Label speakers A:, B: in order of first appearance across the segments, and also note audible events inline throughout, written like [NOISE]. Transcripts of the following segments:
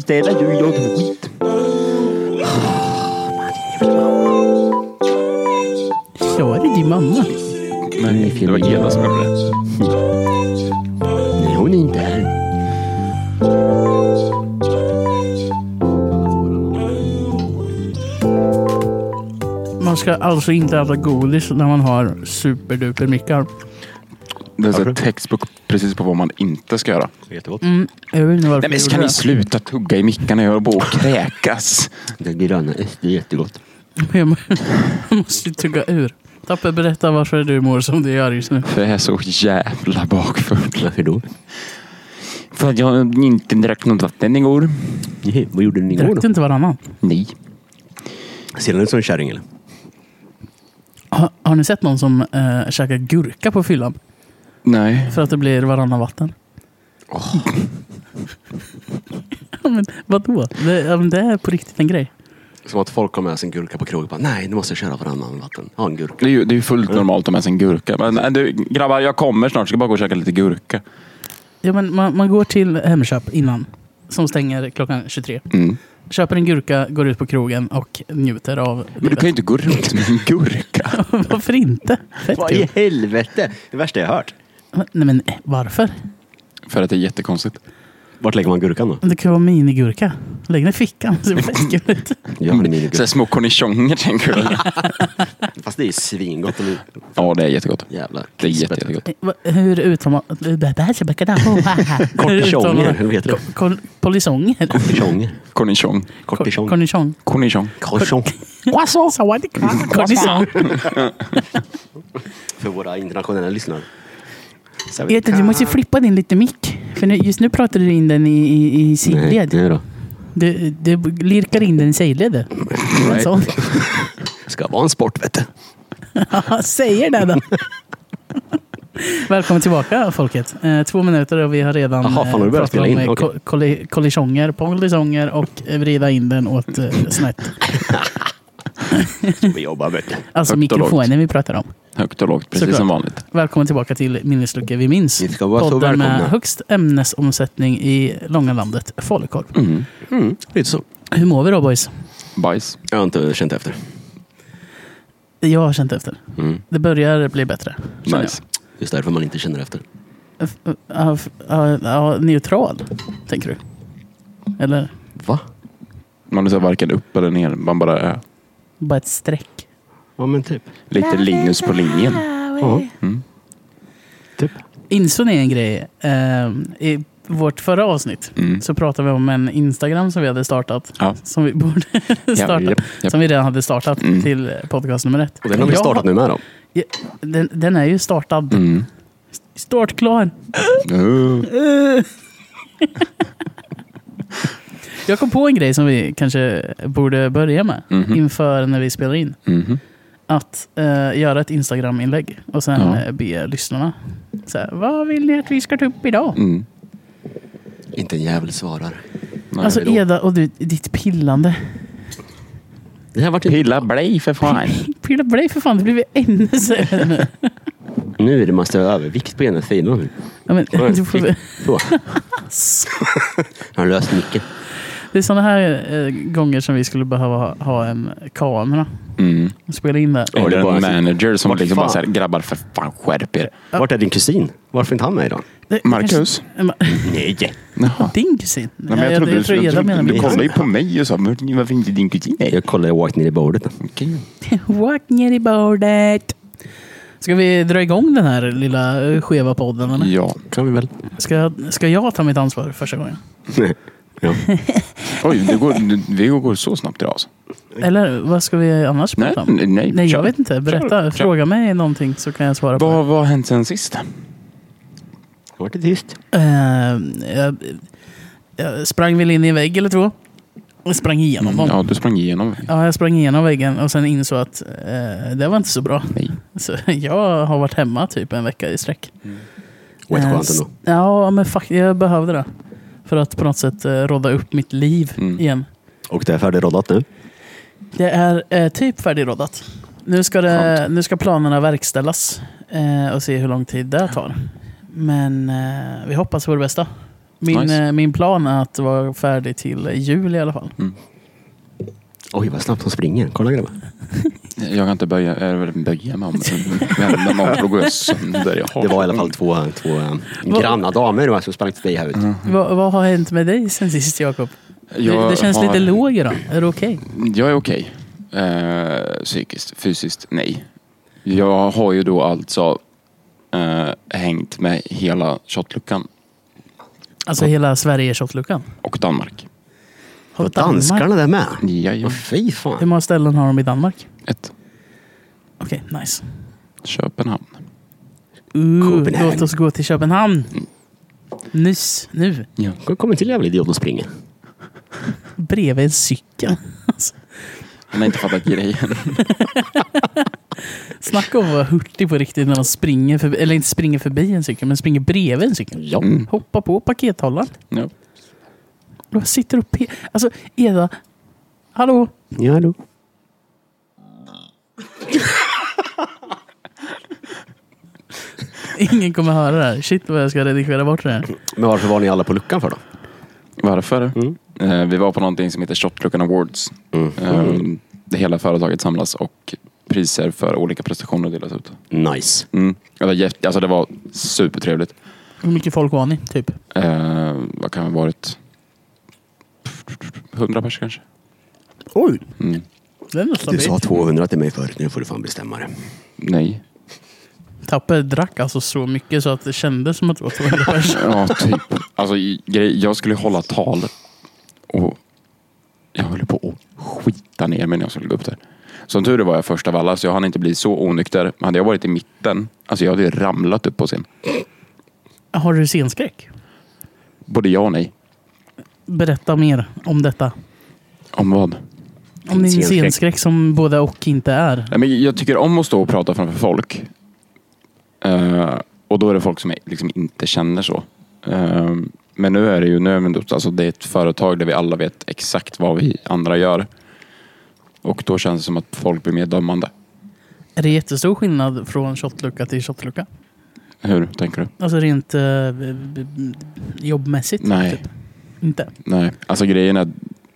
A: städa ljud låter skit.
B: Ja, är det din mamma?
A: Nej,
C: Det var Geda som gjorde det.
A: Nej, hon är inte här.
B: Man ska alltså inte äta godis när man har superduper mickar.
C: Det är så här textbook precis på vad man inte ska göra.
D: Jättegott.
B: Jag vet
C: Nej
B: inte varför
C: men
B: jag
C: kan
B: gjorde
C: ni
B: det.
C: sluta tugga i mickarna? Jag håller på att kräkas.
D: Det gröna är jättegott.
B: Jag måste ju tugga ur. Tappe, berätta varför du mår som du gör just nu.
C: [LAUGHS] För jag är så jävla bakfull.
D: Varför då?
C: För att jag inte drack något vatten igår.
D: Nej, vad gjorde ni igår
B: Drack du
D: då?
B: inte varannan?
C: Nej.
D: Ser den ut som en kärring eller?
B: Har, har ni sett någon som eh, käkar gurka på fyllan?
C: Nej.
B: För att det blir varannan vatten? [LAUGHS] ja, men vadå? Det, ja, men det är på riktigt en grej.
D: Som att folk har med sig en gurka på krogen. och bara, Nej, nu måste jag köra varannan vatten. Ha en gurka.
C: Det är ju det är ju fullt normalt att ha med sig en gurka. Men nej, du, grabbar, jag kommer snart. Jag ska bara gå och käka lite gurka.
B: Ja, men man, man går till Hemköp innan, som stänger klockan 23.
C: Mm.
B: Köper en gurka, går ut på krogen och njuter av [LAUGHS]
C: Men du kan ju inte gå runt med en [LAUGHS] gurka.
B: Varför inte? Fett
D: Vad
B: kul.
D: i helvete? Det värsta jag har hört.
B: Nej men eh, varför?
C: För att det är jättekonstigt.
D: Vart lägger man gurkan då?
B: Det kan vara minigurka. Lägg den i fickan. Det ser fett kul
D: [LAUGHS]
B: ut.
D: Jag har
C: Så här
D: en minigurka.
C: små cornichoner tänker du?
D: Fast det är ju svingott. Eller?
C: [LAUGHS] Ja, det är jättegott.
D: Jävlar.
C: Det är jätte, jättegott.
B: Eh, vad- Hur uttalar man... Det här ser bäckar där. Oh, ha,
D: [LAUGHS]
B: ha. Hur uttalar man-
D: Kortisjonger, eller vad heter det?
B: Kol- Polisonger?
D: Kortisjonger.
C: Cornichon.
D: Kortisjong.
B: Cornichon.
C: Cornichon.
D: Kortisjong.
B: Croissant.
D: [LAUGHS]
B: Cornichon.
D: För våra internationella lyssnare. Så vi-
B: Ete, du måste flippa din lite mick. För nu, just nu pratar du in den i, i, i
D: Nej,
B: sidled.
D: nej då.
B: Du, du lirkar in den i sidled.
C: Nej.
B: Alltså,
D: Ska vara en sport vet du.
B: säger det då. [LAUGHS] Välkommen tillbaka folket. Eh, två minuter och vi har redan
D: Jaha, fan, har du
B: eh,
D: börjat
B: pratat
D: spela
B: om
D: in?
B: eh,
D: Okej.
B: ko- kolli- kollisionger, polisonger och eh, vrida in den åt eh, snett.
D: Vi jobbar vet du.
B: Alltså
C: Högt och lågt.
B: mikrofonen vi pratar om.
C: Högt och lågt, precis
B: Såklart.
C: som vanligt.
B: Välkommen tillbaka till Minneslucka vi minns.
D: Ni ska vara så
B: Podden med
D: välkomna.
B: högst ämnesomsättning i långa landet falukorv.
C: Mm.
D: Mm, lite så.
B: Hur mår vi då boys?
C: Bajs.
D: Jag har inte känt efter.
B: Jag har känt efter.
D: Mm.
B: Det börjar bli bättre. känner
C: Nice.
D: Just därför man inte känner efter.
B: jag. F- ja, f- ja, ja, Neutral, tänker du? Eller
D: Va?
C: Man är så här varken upp eller ner. Man bara är
B: bara ett streck?
D: Ja men typ.
C: lite Linus på linjen.
D: Ja.
C: Mm.
D: Typ.
B: Insåg ni en grej? Ehm, I vårt förra avsnitt
C: Mm.
B: så pratade vi om en Instagram som vi hade startat.
C: Ja.
B: Som vi borde [LAUGHS] starta.
C: japp, japp.
B: Som vi redan hade startat
C: Mm.
B: till podcast nummer ett.
D: Och den har vi
B: Jag
D: startat nu med då.
B: Ja, Den, den är ju startad.
C: Mm.
B: Startklar.
C: Uh.
B: Jag kom på en grej som vi kanske borde börja med
C: Mhm.
B: inför när vi spelar in.
C: Mhm.
B: Att eh, göra ett Instagram-inlägg och sen
C: Ja.
B: eh, be lyssnarna. Så här, Vad vill ni att vi ska ta upp idag?
C: Mm.
D: Inte en jävel svarar.
C: Nej,
B: alltså
D: det är
B: Eda och du, ditt pillande. [LAUGHS]
D: Det här vart ju...
C: Pilla blej för fan.
B: Pilla på dig för fan, det blev ju ännu sämre nu.
D: Nu är det massa övervikt på ena sidan.
B: Ja, men, [LAUGHS]
D: Oj,
B: du får,
D: Så. Han löst mycket.
B: det är sådana här eh, gånger som vi skulle behöva ha, ha en kamera
C: Mm.
B: och spela in det.
D: Ja, det
C: Eller
D: är bara-
C: en manager som
D: Vart
C: liksom bara
D: fan?
C: såhär, grabbar för fan skärp er.
D: Vart är din kusin? Varför inte han med idag?
B: Det-
C: Marcus?
B: kanske- eh, ma-
D: Nej.
C: Jaha.
B: Din kusin?
C: Nej, men jag, trodde,
B: jag tror
C: jag
B: Eda menar
C: trodde, du
B: min.
C: kollade ju på mig och sa, "Men varför inte din kusin? Nej.
D: Jag kollar, jag åkte ner i bordet. [LAUGHS]
C: Okej.
B: Walk ner i bordet. Ska vi dra igång den här lilla eh, skeva podden? Eller?
C: Ja.
D: Kan vi väl?
B: Ska, ska jag ta mitt ansvar första gången?
D: ja.
C: Oj, det går, det- vi går så snabbt idag alltså.
B: Eller vad ska vi annars
C: Nej,
B: prata om?
C: nej, nej,
B: nej jag
C: kör.
B: vet inte. Berätta.
C: Kör, kör.
B: Fråga mig någonting så kan jag svara på det.
C: Vad vad har hänt sen sist?
D: Vart det tyst?
B: Eh, jag, jag sprang väl in i en vägg eller två. Och sprang igenom dem.
C: Ja, du sprang igenom.
B: Ja, jag sprang igenom väggen och sen insåg att eh, det var inte så bra. [LAUGHS]
C: Nej.
B: Så jag har varit hemma typ en vecka i sträck.
D: Rätt
B: Eh,
D: skönt
B: s-
D: ändå.
B: Ja, men fuck, jag behövde det. För att på något sätt eh, råda upp mitt liv
C: Mm.
B: igen.
D: Och det är färdigroddat nu.
B: Det är eh, typ färdigroddat. Nu ska, det, nu ska planerna verkställas eh, och se hur lång tid det tar. Men eh, vi hoppas på det bästa. Min,
C: Nice.
B: eh, min plan är att vara färdig till jul i alla fall.
D: Oj, vad snabbt de springer. Kolla grabbar.
C: Jag kan inte böja, eller böja mig om
D: [LAUGHS]
C: vända mig om, för då går jag sönder. Jag
D: Det var i alla fall två, två eh, granna damer då, som sprang till dig här ute.
B: Va, vad har hänt med dig sen sist Jakob? Det,
C: Mhm. Jag
B: det känns
C: har-
B: lite låg idag. Är det okej?
C: Jag är okej. Eh, psykiskt, fysiskt, nej. Jag har ju då alltså eh, hängt med hela shotluckan
B: Alltså hela Sverige shotluckan.
C: och Danmark.
B: Har
D: Och danskarna där med.
C: Jajamän.
D: Åh, fy
B: Hur
D: fan.
B: många ställen har de i Danmark?
C: Ett.
B: Okej, nice.
C: Köpenhamn.
B: Uh,
D: Copenhagen.
B: låt oss gå till Köpenhamn. Nyss, nu.
C: Ja.
D: Kom- Kom en till jävla idiot och springer.
B: Bredvid en cykel. [LAUGHS] Alltså,
C: Han har inte fattat grejen.
B: snacka om att vara hurtig på riktigt när de springer förbi, eller inte springer förbi en cykel, men springer bredvid en cykel.
D: Ja.
C: Mm.
B: Hoppa på pakethållaren.
C: Ja.
B: De sitter och pe- Alltså, Eda. Hallå?
D: Ja, hallå.
B: Ingen kommer höra det här. Shit vad jag ska redigera bort det här.
D: Men varför var ni alla på luckan för då?
C: Varför? Eh, vi var på någonting som heter Shotluckan Awards. Eh, det hela företaget samlas och priser för olika prestationer delas ut.
D: Nice.
C: Mm. Det, var jätte, alltså det var supertrevligt.
B: Hur mycket folk var ni, typ?
C: Eh, vad kan det ha varit? 100 pers kanske?
B: Oj!
C: Mm.
B: Det är nästan
D: Du
B: det.
D: sa 200 till mig förut, nu får du fan bestämma dig.
C: Nej.
B: Tapper drack alltså så mycket så att det kändes som att det var 200 personer.
C: Ja, typ. Alltså, i- grej, jag skulle hålla tal och jag höll på att skita ner mig när jag skulle gå upp där. Som tur är var jag först av alla, så jag hann inte bli så onykter. Men hade jag varit i mitten, alltså jag hade ju ramlat upp på scen.
B: [LAUGHS] Har du scenskräck?
C: Både ja och nej.
B: Berätta mer om detta.
C: Om vad?
B: Om din
D: Scenskräck.
B: scenskräck som både och inte är.
C: Nej, men jag tycker om att stå och prata framför folk. Eh, och då är det folk som jag liksom inte känner så. Eh, men nu är det ju nu är det, alltså det är ett företag där vi alla vet exakt vad vi andra gör. Och då känns det som att folk blir mer dömande.
B: Är det jättestor skillnad från shotlucka till shotlucka?
C: Hur tänker du?
B: Alltså rent eh, b- b- b- jobbmässigt?
C: Nej.
B: Typ. Inte?
C: Nej, alltså grejen är att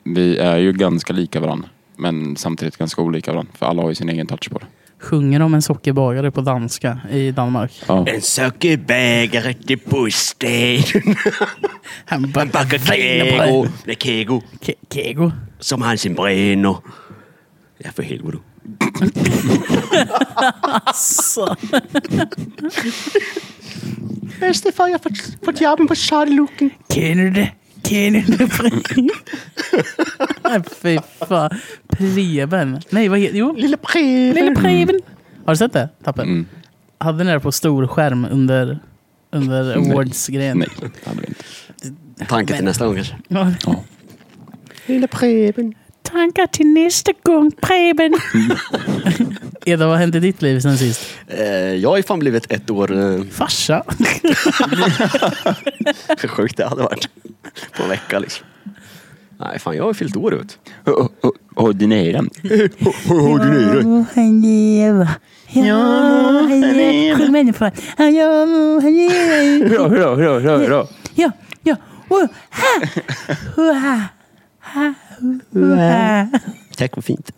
C: vi är ju ganska lika varandra. Men samtidigt ganska olika varandra. För alla har ju sin egen touch på det.
B: Sjunger de en sockerbagare på danska i Danmark?
C: Ja.
D: En sockerbägare till [LAUGHS] Busten.
B: Han
D: Han bakar
B: på
D: kego. Med kego.
B: Ke- Kego.
D: Som han sin brännor. Ja, för helvete.
B: Så.
D: Bestefar, jag har fått jobben på charlucken.
B: Känner du det? Känner du det? Nej, Fy fan. Preben. Nej, vad heter Jo,
D: Lille Preben.
B: Lille Preben. Har du sett det, Tappe?
C: Mm.
B: Hade ni det på stor skärm under, under awards-grejen?
C: Nej, det hade vi inte.
D: Tanken till
B: Men-
D: nästa gång kanske.
B: Ja.
C: Ja.
D: Lille Preben.
B: Tankar till nästa gång,
C: [LAUGHS]
B: Preben. Eda, vad har hänt i ditt liv sen sist?
D: Eh, jag har ju fan blivit ett år... eh, [LAUGHS]
B: Farsa.
D: Hur sjukt det hade varit. På en vecka liksom. Nej, fan jag har ju fyllt år ut.
C: Och din egen?
D: Har du nyren?
B: han leva. Ja, han leva. Sjung människa. Ja, han [LAUGHS]
C: Hurra,
B: leva.
C: hurra, hurra, hurra, hurra.
B: Ja, ja. Oh, ha. Hurra. Ha. Hurra.
D: Tack, vad fint.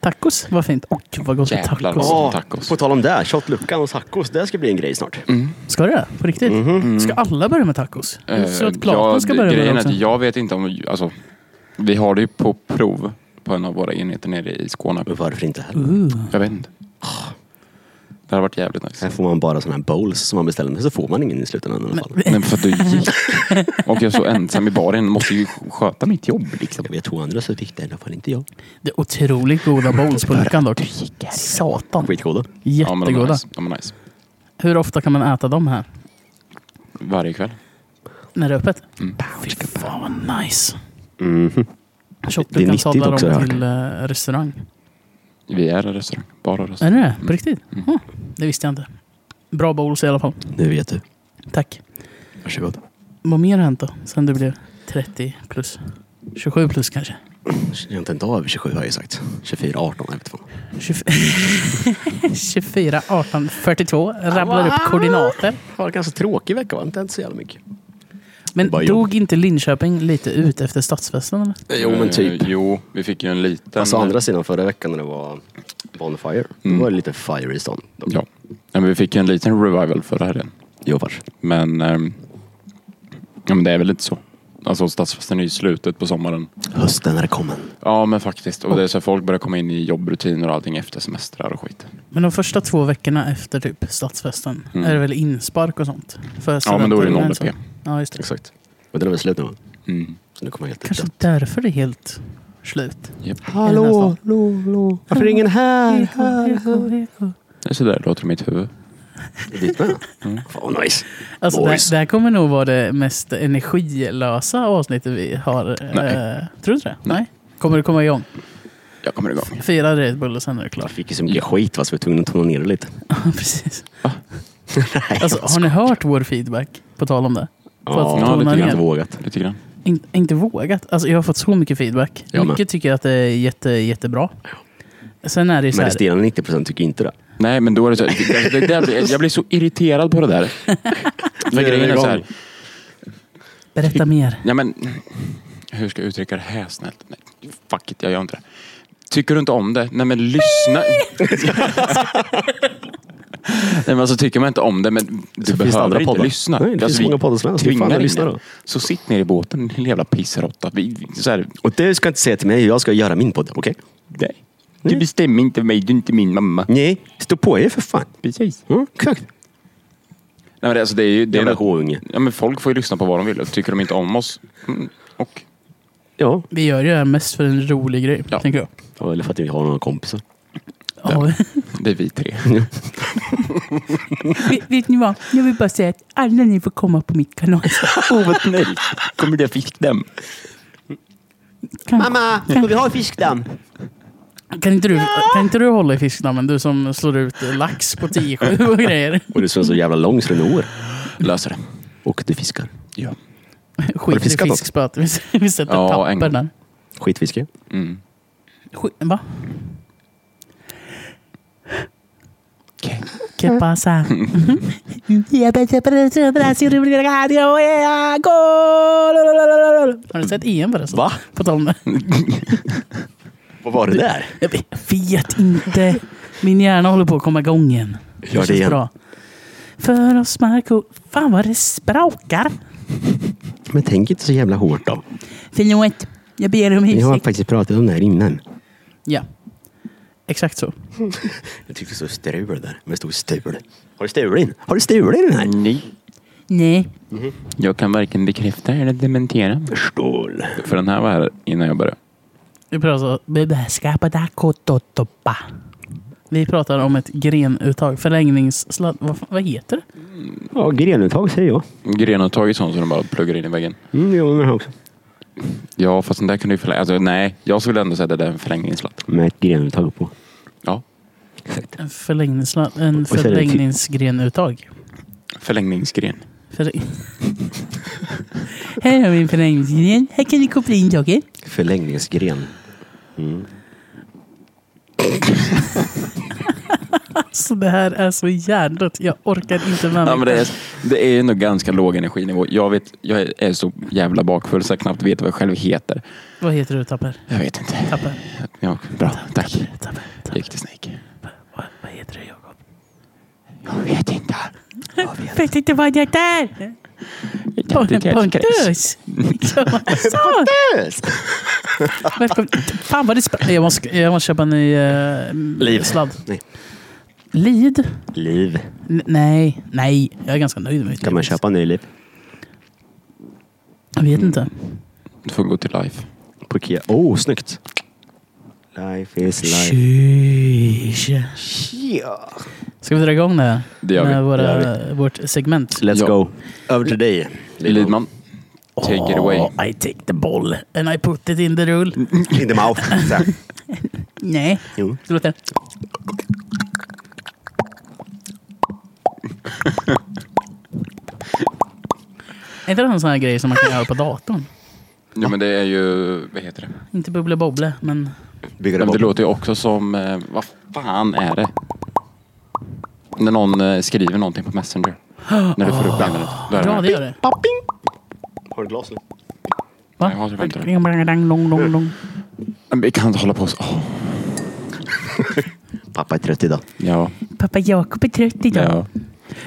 B: Tacos var fint. Och vad gott med
C: Jävlar.
B: tacos.
C: Ja, tacos.
D: På tal om det, shotluckan och tacos, det ska bli en grej snart.
B: Ska det? På riktigt? Mm. Ska alla börja med tacos? Så att Platon ska
C: Eh, Ja,
B: börja med
C: grejen
B: det
C: är att
B: också?
C: Jag vet inte om... Alltså, vi har det ju på prov på en av våra enheter nere i Skåne.
D: Men Varför inte heller?
B: Uh,
C: Jag vet inte. Det hade varit jävligt
D: Här [LAUGHS]
C: nice.
D: får man bara sådana här bowls som man beställer, men så får man ingen i slutändan i alla fall.
C: Men för att du gick. Och jag är så ensam i baren. Måste ju sköta mitt jobb liksom.
D: Jag vet två andra så fick det i alla fall inte jag.
B: det är otroligt goda bowls på luckan dock. Satan.
D: Skitgoda.
C: Ja, men de är
B: Jättegoda.
C: nice. De är nice.
B: Hur ofta kan man äta dem här?
C: Varje kväll.
B: När det är öppet?
C: Mm.
B: Fy fan vad nice.
D: Mhm. Det är
B: Shotluckan
D: nyttigt
B: sadlar
D: också, har
B: dem
D: jag
B: till eh, restaurang.
C: Vi är en restaurang. Bara restaurang.
B: Är det det? På riktigt?
C: Mm.
B: Huh, Det visste jag inte. Bra bowls i alla fall.
D: Nu vet du.
B: Tack.
D: Varsågod.
B: Vad mer har hänt då? Sen du blev 30 plus? 27 plus kanske?
D: Jag har inte en dag över 27 har jag ju sagt. 24, 18, jag vet fan.
B: [LAUGHS] 24, 18, 42. Rabblar upp koordinater.
D: Det var en ganska tråkig vecka va? Inte ens så jävla mycket.
C: mest.
B: Men
C: bara
B: dog
C: jobb.
B: inte Linköping lite ut efter stadsfesten? Eller?
D: Jo men typ.
C: Eh, Jo, vi fick ju en liten...
D: Alltså andra sidan förra veckan när det var Bonfire,
C: Mm.
D: då var det lite fire i stan. Då.
C: Ja. ja, men vi fick ju en liten revival förra helgen.
D: Jobbar.
C: Men, ehm, ja, men det är väl lite så. Alltså stadsfesten är ju i slutet på sommaren.
D: Hösten är kommen.
C: Ja men faktiskt. Och det är så här, folk börjar komma in i jobbrutiner och allting efter semestrar och skit.
B: Men de första två veckorna efter typ stadsfesten
C: Mm.
B: är det väl inspark och sånt? För
C: Ja men då är det
B: studenterna,
C: 0
B: så.
C: p.
B: Ja, just det.
D: Exakt. Men den är väl slut nu va?
C: Mm.
D: Så nu kommer jag helt
B: Kanske därför det är helt slut.
C: Japp.
B: Hallå,
D: hallå, hallå. Varför är ingen här?
C: Det är sådär det låter i mitt huvud.
D: Dit med? Mm. Fan vad nice.
B: Alltså,
D: Boys.
B: det, det här kommer nog vara det mest energilösa avsnittet vi har. Eh, tror du inte det? Nej. Kommer du komma igång?
C: Jag kommer igång.
B: Fyra Red Bull och sen är det
D: Jag [LAUGHS]
B: klart.
D: fick ju så mycket skit va, så vi var tvungna att tona ner det lite. [LAUGHS]
B: Precis. Alltså, har ni hört vår feedback? På tal om det. För att
D: ja,
B: tona
D: lite
B: ner.
D: grann vågat.
C: Lite grann.
B: In, inte vågat. Alltså, jag har fått så mycket feedback.
D: Jag med.
B: Mycket tycker att det är jätte, jättebra. Sen är det ju så
D: Men
B: här.
D: resterande 90 procent tycker inte det.
C: Nej men då är det så här, det, det, det, det, Jag blir så irriterad på det där. För
D: Nu är
C: grejen
D: vi
C: är så
D: igång.
C: här.
B: Berätta mer.
C: Ja, men, hur ska jag uttrycka det här snällt? Nej, fuck it, jag gör inte det. Tycker du inte om det? Nej men lyssna. Nej men alltså tycker man inte om det, men du
D: Så finns det andra
C: behöver inte
D: poddar.
C: lyssna.
D: Nej, det finns
C: alltså, vi
D: många poddar som helst. Hur fan
C: tvingar
D: är det
C: in
D: lyssna
C: er.
D: då?
C: Så sitt ner i båten, din jävla pissråtta. Vi, vi- så här,
D: Och det ska jag inte säga till mig, jag ska göra min podd. Okej?
C: nej.
D: Mm.
C: Du bestämmer inte mig, du är inte min mamma.
D: Nej, stå på er för fan.
C: Precis.
D: Mm, exakt.
C: Nej men det, alltså, det är ju... Det är
D: Jävla
C: något,
D: hovunge.
C: ja, men folk får ju lyssna på vad de vill. Och Tycker de inte om oss, mm, och...
D: Ja.
B: Vi gör ju det här mest för en rolig grej,
C: Ja.
B: tänker jag.
D: ja, eller för att vi har några kompisar.
B: Ja. [LAUGHS]
C: Det är vi tre.
B: vet, vet ni vad? Jag vill bara säga att alla ni får komma på mitt
D: [LAUGHS]
B: kanal.
C: [LAUGHS] Åh vad nej. Kommer det fick dem?
B: Kan,
D: ska vi ha fiskdamm?
B: kan, inte du, kan inte du hålla i fiskdammen? Du som slår ut eh, lax på
D: [LAUGHS]
B: 10-7 och grejer.
D: Och du är så jävla lång så den når.
C: Löser det.
D: Och du fiskar.
C: Ja.
D: du
B: Skit i
D: fiskat något?
B: fiskspöet. Vi, vi sätter
C: Ja, en
B: papper
C: gång.
B: där.
D: Skitfiske.
C: Mm.
B: Skit, va? Que
D: Mm. [LAUGHS]
B: pasa? Har du sett EM förresten?
D: Va?
B: På tal om det.
D: Vad var det där?
B: Jag vet inte. Min hjärna håller på att komma igång igen.
D: Gör det
B: känns
D: igen.
B: Bra. För oss Marco. Fan vad det sprakar.
D: Men tänk inte så jävla hårt då.
B: Förlåt. Jag ber om
D: Vi har
B: ursäkt.
D: faktiskt pratat om det här innan.
B: Ja. Exakt så.
D: Jag tyckte det stod strul där. Men det stod stul. Har du stulit? Har du stulit den här?
C: Nej.
B: Nej.
C: Jag kan varken bekräfta eller dementera.
D: Stål.
C: För den här var här innan jag började.
B: Vi pratar, Skapadakototoppa. vi pratar om ett grenuttag. Förlängningssladd. Vad, fan- vad heter det?
D: Ja, grenuttag säger jag.
C: Grenuttaget sånt som de bara pluggar in i väggen.
D: Mm, det gör man här också.
C: Ja, fast den där kunde ju förlänga. Alltså, nej, jag skulle ändå säga att det där är en förlängningsslatt.
D: Med ett grenuttag på.
C: Ja.
D: Exakt.
B: En förlängningssladd. En
D: så är det typ-
B: förlängningsgrenuttag.
C: Förlängningsgren.
B: Förläng... [LAUGHS] här har vi en förlängningsgren. Här kan du koppla in saker.
D: Förlängningsgren.
B: Alltså det här är så hjärndött. Jag orkar inte med
C: Ja,
B: mig.
C: men det, är, det är nog ganska låg energinivå. Jag, vet, jag är så jävla bakfull så jag knappt vet vad jag själv heter.
B: Vad heter du Tapper?
C: Jag vet inte.
B: Tapper.
C: Ja, bra, tack.
B: Tapper.
C: Jag gick till Snake.
B: Vad, vad heter du Jakob?
C: Jag vet inte.
B: Jag vet inte vad jag är.
C: Jag kan inte tillgrepp.
B: Pontus! [LAUGHS] Så. Välkommen. Fan vad det spä- jag, måste, jag måste köpa en ny eh, sladd.
D: Nej.
B: Lid?
D: Liv.
B: N- nej, nej. Jag är ganska nöjd med mitt
D: Kan man
B: liv.
D: köpa en ny liv?
B: Jag vet inte.
D: Mm.
C: Du får gå till life.
D: På Ikea. Oh, snyggt. Life is life.
B: Sheesh.
D: Ja.
B: Ska vi dra igång det här?
C: Det gör vi.
B: Med
D: Det
B: våra, vårt segment.
D: Let's
C: Ja.
D: go. Över till dig.
C: Lidman, take it away.
B: Oh, I take the ball and I put it in the rule.
D: In the [LAUGHS] mouth. Så här.
B: Nej,
D: Jo.
B: det låter... Är inte det en sån här grej som man kan göra på datorn?
C: Ja, men det är ju, vad heter det?
B: Inte Bubble Bobble, men...
C: Ja, men
D: Bygger det
C: det
D: bort.
C: låter ju också som, eh, vad fan är det? När någon eh, skriver någonting på Messenger. När du får upp namnet. Då är
B: Ja, det
C: det.
B: gör det.
E: Har du glaset?
B: Va?
C: Jag hatar inte det.
B: Ding, bang, dang, dong, dong, dong.
C: Men Vi kan inte hålla på så. Åh,
D: Pappa är trött idag.
C: ja,
B: Pappa Jakob är trött idag.
C: ja.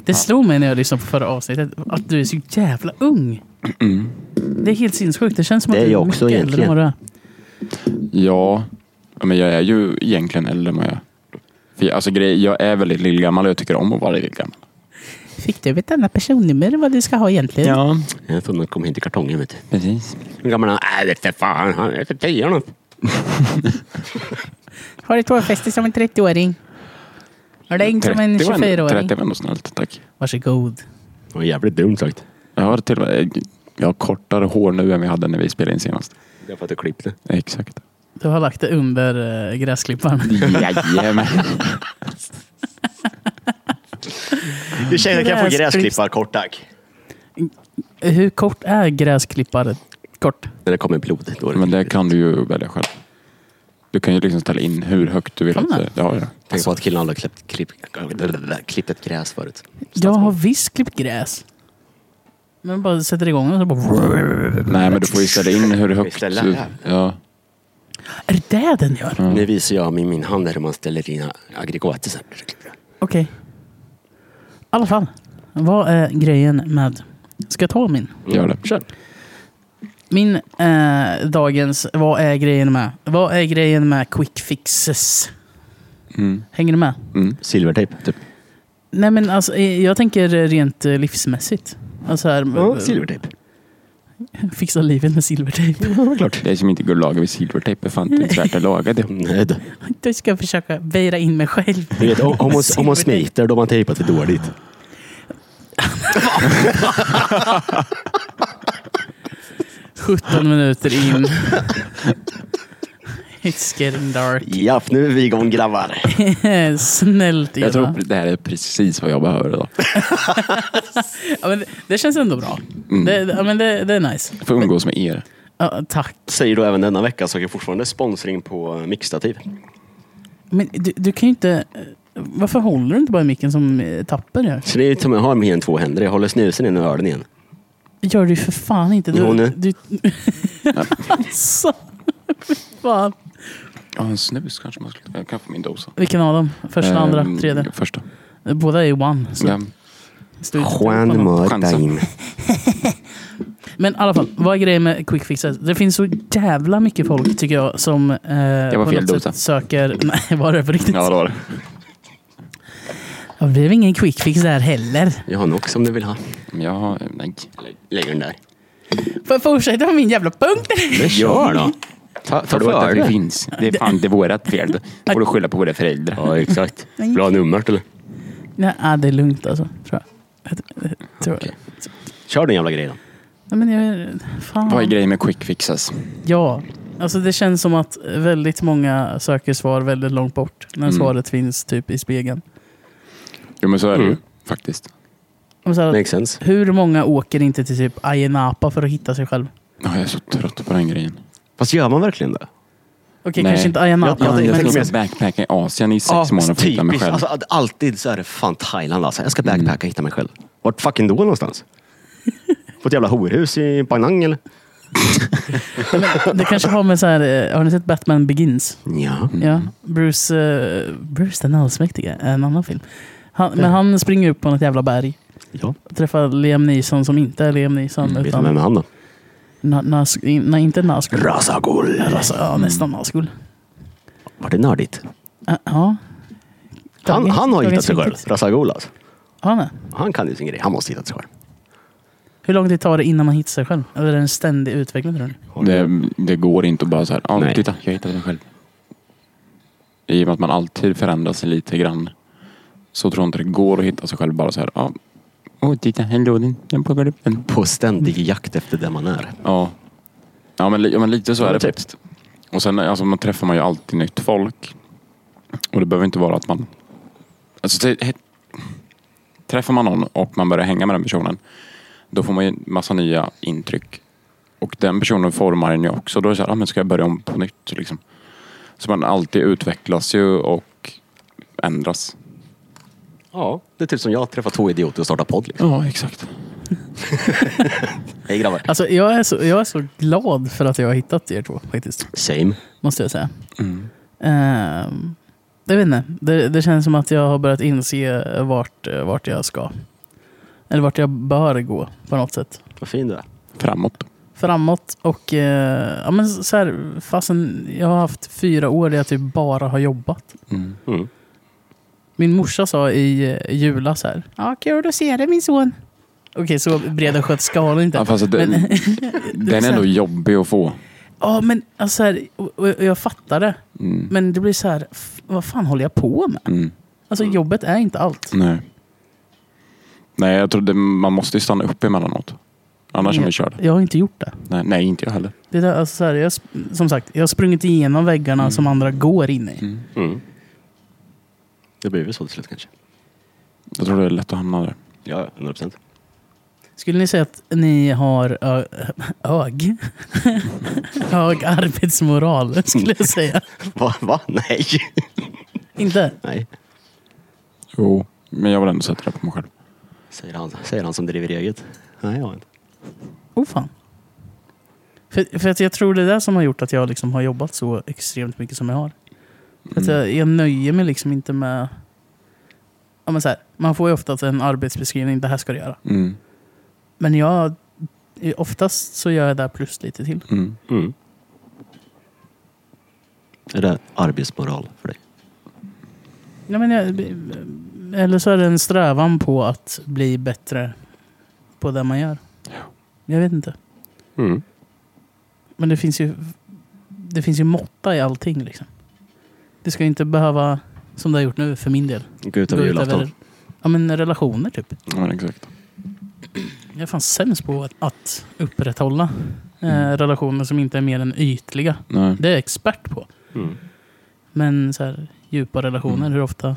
B: Det slog mig när jag lyssnade på förra avsnittet att du är så jävla ung.
C: Mm.
B: Det är helt sinnessjukt. Det känns som
D: Det
B: att
D: är
B: du är
D: jag
B: mycket
D: också
B: äldre än
D: egentligen.
B: vad du är.
C: Ja, Ja, men jag är ju egentligen äldre än vad jag är. För jag, alltså, grej, jag är väldigt lillgammal och jag tycker om att vara lillgammal.
B: Fick du ett annat personnummer vad du ska ha egentligen?
C: Ja,
D: Jag har för mig att kom hit i kartongen vet du.
C: precis.
D: Hur gammal är han? Nej, vete fan. Han är för tio nu.
B: Har ett hårfäste som en 30-åring. Har det som en
C: 30 var
B: 24-åring.
C: 30 var ändå snällt, tack.
B: Varsågod.
D: Det var jävligt dumt sagt.
C: Jag har till och med, jag har kortare hår nu än vi hade när vi spelade in senast.
D: Det är för att du klippte.
B: [LAUGHS]
C: Exakt.
B: Du har lagt det under uh, gräsklipparen.
C: Jajamän.
E: Du tjejerna kan få
B: Gräsklipp-
E: gräsklippar kort tack.
B: Hur kort är gräsklippare? Kort.
D: När det kommer blod. Då är det
C: Men det kan du ju välja själv. Du kan ju liksom ställa in hur högt du vill
B: Kan
C: att
B: man?
C: det ja, ja.
D: Tänk på Alltså, att killen aldrig klippt, klippt, klippt ett gräs förut.
B: Jag har visst klippt gräs. Men bara sätter igång och så bara...
C: Nej, men du får ju ställa in hur högt
D: ställa
C: du...
D: här?
C: Ja.
B: Är det det den gör?
D: Nu visar jag med min hand här hur man ställer in aggregatet. så här.
B: Okej. I alla fall. Vad är grejen med... Ska jag ta min?
C: Gör det.
D: Mm. Kör.
B: Min eh, dagens... Vad är grejen med? Vad är grejen med quick fixes?
C: Mm.
B: Hänger du med?
C: Mm.
D: Silvertejp, typ.
B: Nej men alltså, eh, jag tänker rent eh, livsmässigt. Alltså här, eh,
D: Silvertejp.
B: fixa livet med silvertejp.
D: Ja, klart.
C: Det är som inte går att laga vid silvertejp. är fan inte ens värt att laga det.
D: Nej, då.
B: Då ska jag försöka beira in mig själv.
D: Du vet, om, om, man, om man
B: Silvertejp.
D: smiter då har man tejpat för dåligt.
B: Sjutton minuter in. It's getting dark. [LAUGHS]
D: Japp, nu är vi igång grabbar.
B: Snällt Eva.
C: Jag tror det här är precis vad jag behöver idag.
B: Ja, men det, det känns ändå bra.
C: Mm.
B: Det, det- ja, men det, det är nice.
C: För att umgås med er.
B: Ja, tack.
D: Säger då även denna vecka söker fortfarande sponsring på eh, mixtativ.
B: Men du, du kan ju inte... eh, Varför håller du inte bara i micken som eh, tapper gör?
D: Så det är ju som jag har mer än två händer. Jag håller snusen i den och ölen igen.
B: Gör du ju för fan inte. Du,
D: Jo, nu.
B: du, [LAUGHS] alltså, fy fan.
C: Ja, en snus kanske man skulle... Jag kan få min dosa.
B: Vilken av dem? Första, andra,
C: Ehm,
B: tredje?
C: Första.
B: Båda är ju one. Så
C: Ja.
B: stå ut.
C: Martin.
B: Men i alla fall, vad är grejen med quick fixes? Det finns så jävla mycket folk tycker jag som eh,
C: var
B: på
C: fel
B: något
C: dosa.
B: sätt söker... [LAUGHS] Nej, var det på riktigt?
C: Ja, det var det.
B: Ja, Det blev ingen quick fix där heller.
D: Jag har en också om du vill ha.
C: Men Jag har... Nej.
D: Lägg den där.
B: Får jag fortsätta med min jävla punkt?
D: Men kör då.
C: Ta, ta
D: Förlåt att vi
C: finns. Det är fan det är vårat fel.
B: [LAUGHS]
C: Det får du skylla på våra föräldrar.
D: Ja, exakt. Vill du ha numret eller?
B: Nej, ah, det är lugnt alltså. Tror jag. jag, jag tror
D: Okej.
B: jag.
D: Kör den jävla grejen.
B: Nej, men jag, fan.
C: Vad är grejen med quick fixes?
B: Ja, alltså det känns som att väldigt många söker svar väldigt långt bort. När
C: Mm.
B: svaret finns typ i spegeln.
C: Jo, men så är det ju
D: Mm.
C: faktiskt.
B: Och Så här,
D: Makes sense.
B: hur många åker inte till typ Ayia Napa för att hitta sig själv?
C: Ja, jag är så trött på den grejen.
D: Fast gör man verkligen det?
B: Okej,
C: Nej.
B: kanske inte Ayia Napa.
C: Jag,
D: jag
C: jag,
D: tänker
C: jag
D: mer
C: ska backpacka i Asien i sex månader för att hitta mig själv.
D: Alltså, att alltid så är det fan Thailand alltså. Jag ska backpacka och hitta mig själv. Vart fucking då någonstans? På ett jävla horhus i Panang eller?
B: Det kanske har med så här, eh, har ni sett Batman Begins?
D: Ja.
C: Mm.
B: Ja, Bruce, eh, Bruce den allsmäktige, en annan film. Han,
C: Mm.
B: men han springer upp på något jävla berg.
D: ja.
B: Träffar Liam Neeson som inte är Liam
C: Mm,
B: Neeson.
D: Vet du
B: utan
D: vem är han då?
B: Na, nas, i- nej, inte Nazgul.
D: Rasagul.
B: Alltså,
D: Mm.
B: ja, nästan Nazgul.
D: Var det nördigt?
B: Ä- Ja.
D: Han,
B: Dagens-
D: han har hittat
B: dagens
D: sig själv.
B: filmtips.
D: Rasagul alltså.
B: Ja, nej.
D: Han kan ju sin grej. Han måste hitta sig själv.
B: Hur lång tid tar det innan man hittar sig själv? Eller är det en ständig utveckling tror ni?
C: Det, det går inte att bara så här, ja
D: Nej.
C: titta, jag hittade mig själv. I och med att man alltid förändras lite grann så tror jag inte det går att hitta sig själv bara så här, ja. Åh, titta, här låg den. Den plockade upp den.
D: På ständig jakt efter det man är.
C: Ja. Ja men, li- ja, men lite så
D: Ja,
C: är det
D: typ.
C: faktiskt. Och sen alltså, man träffar man ju alltid nytt folk. Och det behöver inte vara att man... Alltså, t- he- träffar man någon och man börjar hänga med den personen, då får man ju en massa nya intryck. Och den personen formar en ju också. Då är det så här, ah, men ska jag börja om på nytt? Liksom. Så man alltid utvecklas ju och ändras.
D: Ja. Det är typ som jag träffar två idioter och startar podd. Liksom.
C: Ja, exakt.
E: Hej grabbar.
B: Alltså, jag, är så, jag är så glad för att jag har hittat er två faktiskt.
D: Same.
B: Måste jag säga.
C: Mm.
B: Ehm, jag vet inte. Det, det känns som att jag har börjat inse vart, eh, vart jag ska. Eller vart jag bör gå på något sätt.
D: Vad fin du är.
C: Framåt.
B: Framåt och eh, ja, men så här, fastän jag har haft fyra år där jag typ bara har jobbat.
C: Mm.
D: Mm.
B: Min morsa sa i eh, julas här. Ja, kul att se dig min son. Okej, så breda sköt skalan inte.
C: Ja, fast den,
B: Men-
C: den är ändå jobbig att få.
B: Ja, men alltså så här, och, och och jag fattar det.
C: Mm.
B: Men det blir så här, f- vad fan håller jag på med?
C: Mm.
B: Alltså jobbet är inte allt.
C: Nej. Nej, jag tror det, man måste ju stanna upp emellanåt. Annars är man körd.
B: Jag har inte gjort det.
C: Nej, nej, inte jag heller.
B: det där, alltså så här, jag, sp- som sagt, jag har sprungit igenom väggarna som andra går in i.
D: Mm. Det blir väl så till slut kanske.
C: Jag tror det är lätt att hamna där.
D: Ja, 100 procent.
B: Skulle ni säga att ni har ö- hög, hög arbetsmoral? Skulle jag säga.
D: [LAUGHS] Va? Va? [LAUGHS] Nej.
B: Inte?
D: Nej.
C: Jo. Men jag vill ändå sätta det på mig själv.
D: Säger han, säger han som driver eget. Nej, jag har inte.
B: Oh fan. För, för att jag tror det är det som har gjort att jag liksom har jobbat så extremt mycket som jag har. För
C: Mm.
B: att jag, jag nöjer mig liksom inte med... Ja, men så här, man får ju oftast en arbetsbeskrivning, det här ska du göra.
C: Mm.
B: Men jag, oftast så gör jag det här plus lite till.
C: Mm.
D: Mm. Är det arbetsmoral för dig?
B: Ja, men jag, eller så är det en strävan på att bli bättre på det man gör. Jag vet inte.
D: Mm.
B: Men det finns ju, det finns ju måtta i allting. Liksom. Det ska ju inte behöva, som det har gjort nu för min del,
D: Gå ut över julafton.
B: ja, men relationer. typ.
C: Ja, men mm, exakt.
B: Jag är fan sämst på att, att upprätthålla eh,
C: Mm.
B: relationer som inte är mer än ytliga.
C: Nej.
B: Det är jag expert på.
D: Mm.
B: Men så här, djupa relationer, hur ofta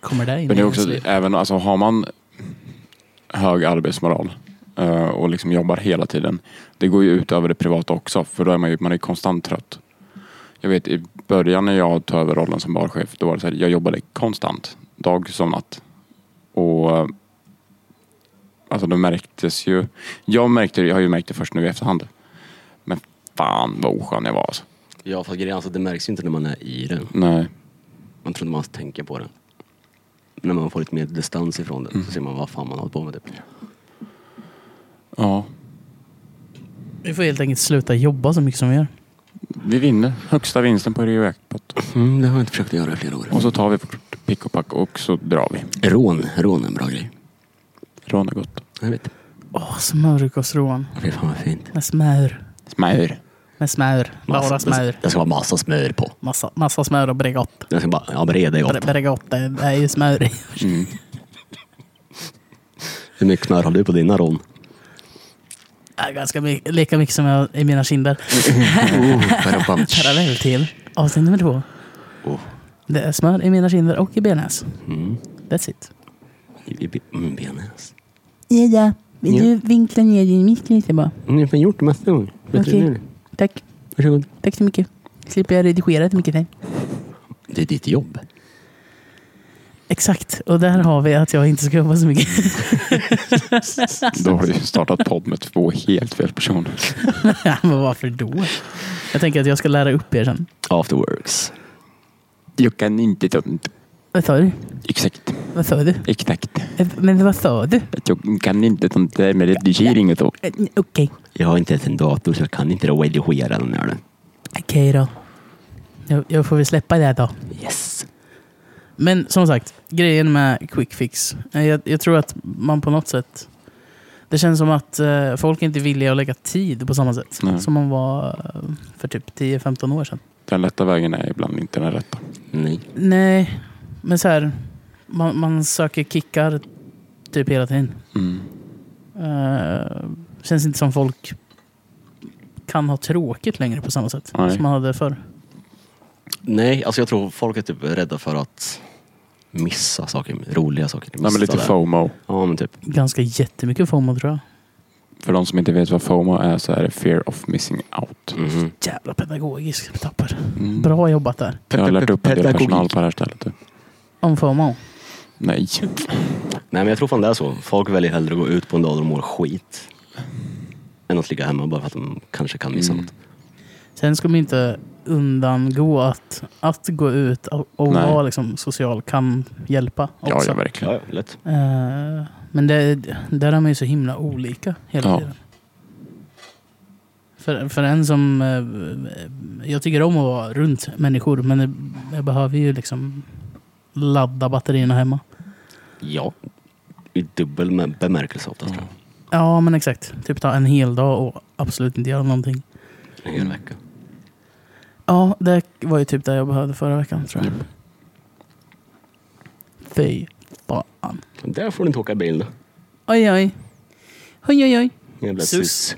B: kommer det in
C: Mm. Men det
B: i
C: är
B: ens
C: också,
B: liv?
C: även, alltså, har man hög arbetsmoral eh, och liksom jobbar hela tiden. Det går ju ut över det privata också, för då är man ju man är ju konstant trött. Jag vet i början när jag tog över rollen som barchef, då var det så här, jag jobbade konstant, dag som natt. Och eh, alltså det märktes ju. Jag märkte jag har ju märkt det först nu i efterhand. Men fan vad oskön jag var alltså.
D: Ja, fast grejen är alltså, det märks ju inte när man är i det.
C: Nej.
D: Man tror inte man tänker på det. När man får lite mer distans ifrån det så ser man vad fan man håller på med. Typ.
C: Ja,
B: Vi får helt enkelt sluta jobba så mycket som vi gör.
C: vi vinner högsta vinsten på Rio Jackpot.
D: Mm, det har jag inte försökt göra i flera år.
C: Och så tar vi vårt pick och pack och så drar vi.
D: Rån, rån är en bra grej.
C: Rån är gott.
D: Jag vet.
B: Åh, smörgåsrån.
D: Fy fan vad fint.
B: Med smör.
C: Smör.
B: Med smör. Bara smör.
D: Det ska vara massa smör på.
B: Massa, massa smör och Bregott.
D: Det ska bara, ja breda är
B: Bre-
D: gott.
B: Bregott det är ju smör i. [LAUGHS]
C: Mm.
D: Hur mycket smör har du på dina rån?
B: Ja, Ganska mycket, lika mycket som jag i
C: [LAUGHS]
B: mina kinder.
D: Mm. [LAUGHS]
B: Parallell till avsnitt nummer två.
D: Oh.
B: Det är smör i mina kinder och i benäs. That's it.
D: mm. I- i- Mm, benäs.
B: Ja, ja. Vill
D: Ja.
B: du vinkla ner din mick lite bara?
D: Ni Mm, har gjort det mesta gånger.
B: Okej. Tack.
D: Varsågod.
B: Tack så mycket. Slipper jag redigera så mycket. Tack.
D: Det är ditt jobb.
B: Exakt. Och där har vi att jag inte ska jobba så mycket.
C: Då har du ju startat podd med två helt fel personer.
B: Ja, [LAUGHS] men varför då? Jag tänker att jag ska lära upp er sen.
D: After works.
C: Jag kan inte sånt.
B: Vad sa du?
C: Exakt.
B: Vad sa du?
C: Exakt.
B: Men vad sa du?
C: Jag kan inte sånt där med redigering och så.
B: Eh, Okej. Okej
D: Jag har inte ens en dator så jag kan inte redigera den här.
B: då. Jag, jag får väl släppa det här då.
D: Yes.
B: Men som sagt, grejen med quick fix. eh, Jag, jag tror att man på något sätt... Det känns som att eh, folk inte är villiga att lägga tid på samma sätt
C: Nej.
B: som man var eh, för typ 10-15 år sedan.
C: Den lätta vägen är ibland inte den rätta.
D: Nej.
B: Nej, men så här. Man, man söker kickar typ hela tiden.
C: Mm.
B: Eh, känns inte som folk kan ha tråkigt längre på samma sätt
C: Nej.
B: som man hade förr.
D: Nej, alltså jag tror folk är typ rädda för att missa saker, roliga saker.
C: Nej, men
D: Missa
C: lite
D: det.
C: FOMO.
D: Ja, men typ.
B: Ganska jättemycket FOMO tror jag.
C: För de som inte vet vad FOMO är så är det fear of missing out.
D: Mhm.
B: Jävla pedagogisk tapper.
C: Mm.
B: Bra jobbat där.
C: Jag har lärt upp en del
D: Pedagogik.
C: personal på det här stället.
B: Om FOMO.
C: Nej.
D: Nej men jag tror fan det är så. Folk väljer hellre att gå ut på en dag då de mår skit. Än att ligga hemma bara för att de kanske kan
C: Mm.
D: missa något.
B: Sen ska man inte undangå att, att gå ut och, och
C: Nej.
B: vara liksom, social kan hjälpa
C: Ja,
B: också.
C: ja, verkligen.
D: Ja, ja, lätt.
B: Eh, men det, där är man ju så himla olika hela
C: Ja.
B: tiden. För, för en som... eh, Jag tycker om att vara runt människor, men det- jag behöver ju liksom ladda batterierna hemma.
D: Ja. I dubbel med- bemärkelse ofta tror jag.
B: Ja, men exakt. Typ ta en hel dag och absolut inte göra någonting.
D: En hel vecka.
B: Ja, det var ju typ det jag behövde förra veckan tror jag. Fy fan.
D: Där får du inte åka bil då.
B: Oj, oj. Oj, oj, oj.
D: Jävla
B: Sus.
D: sus.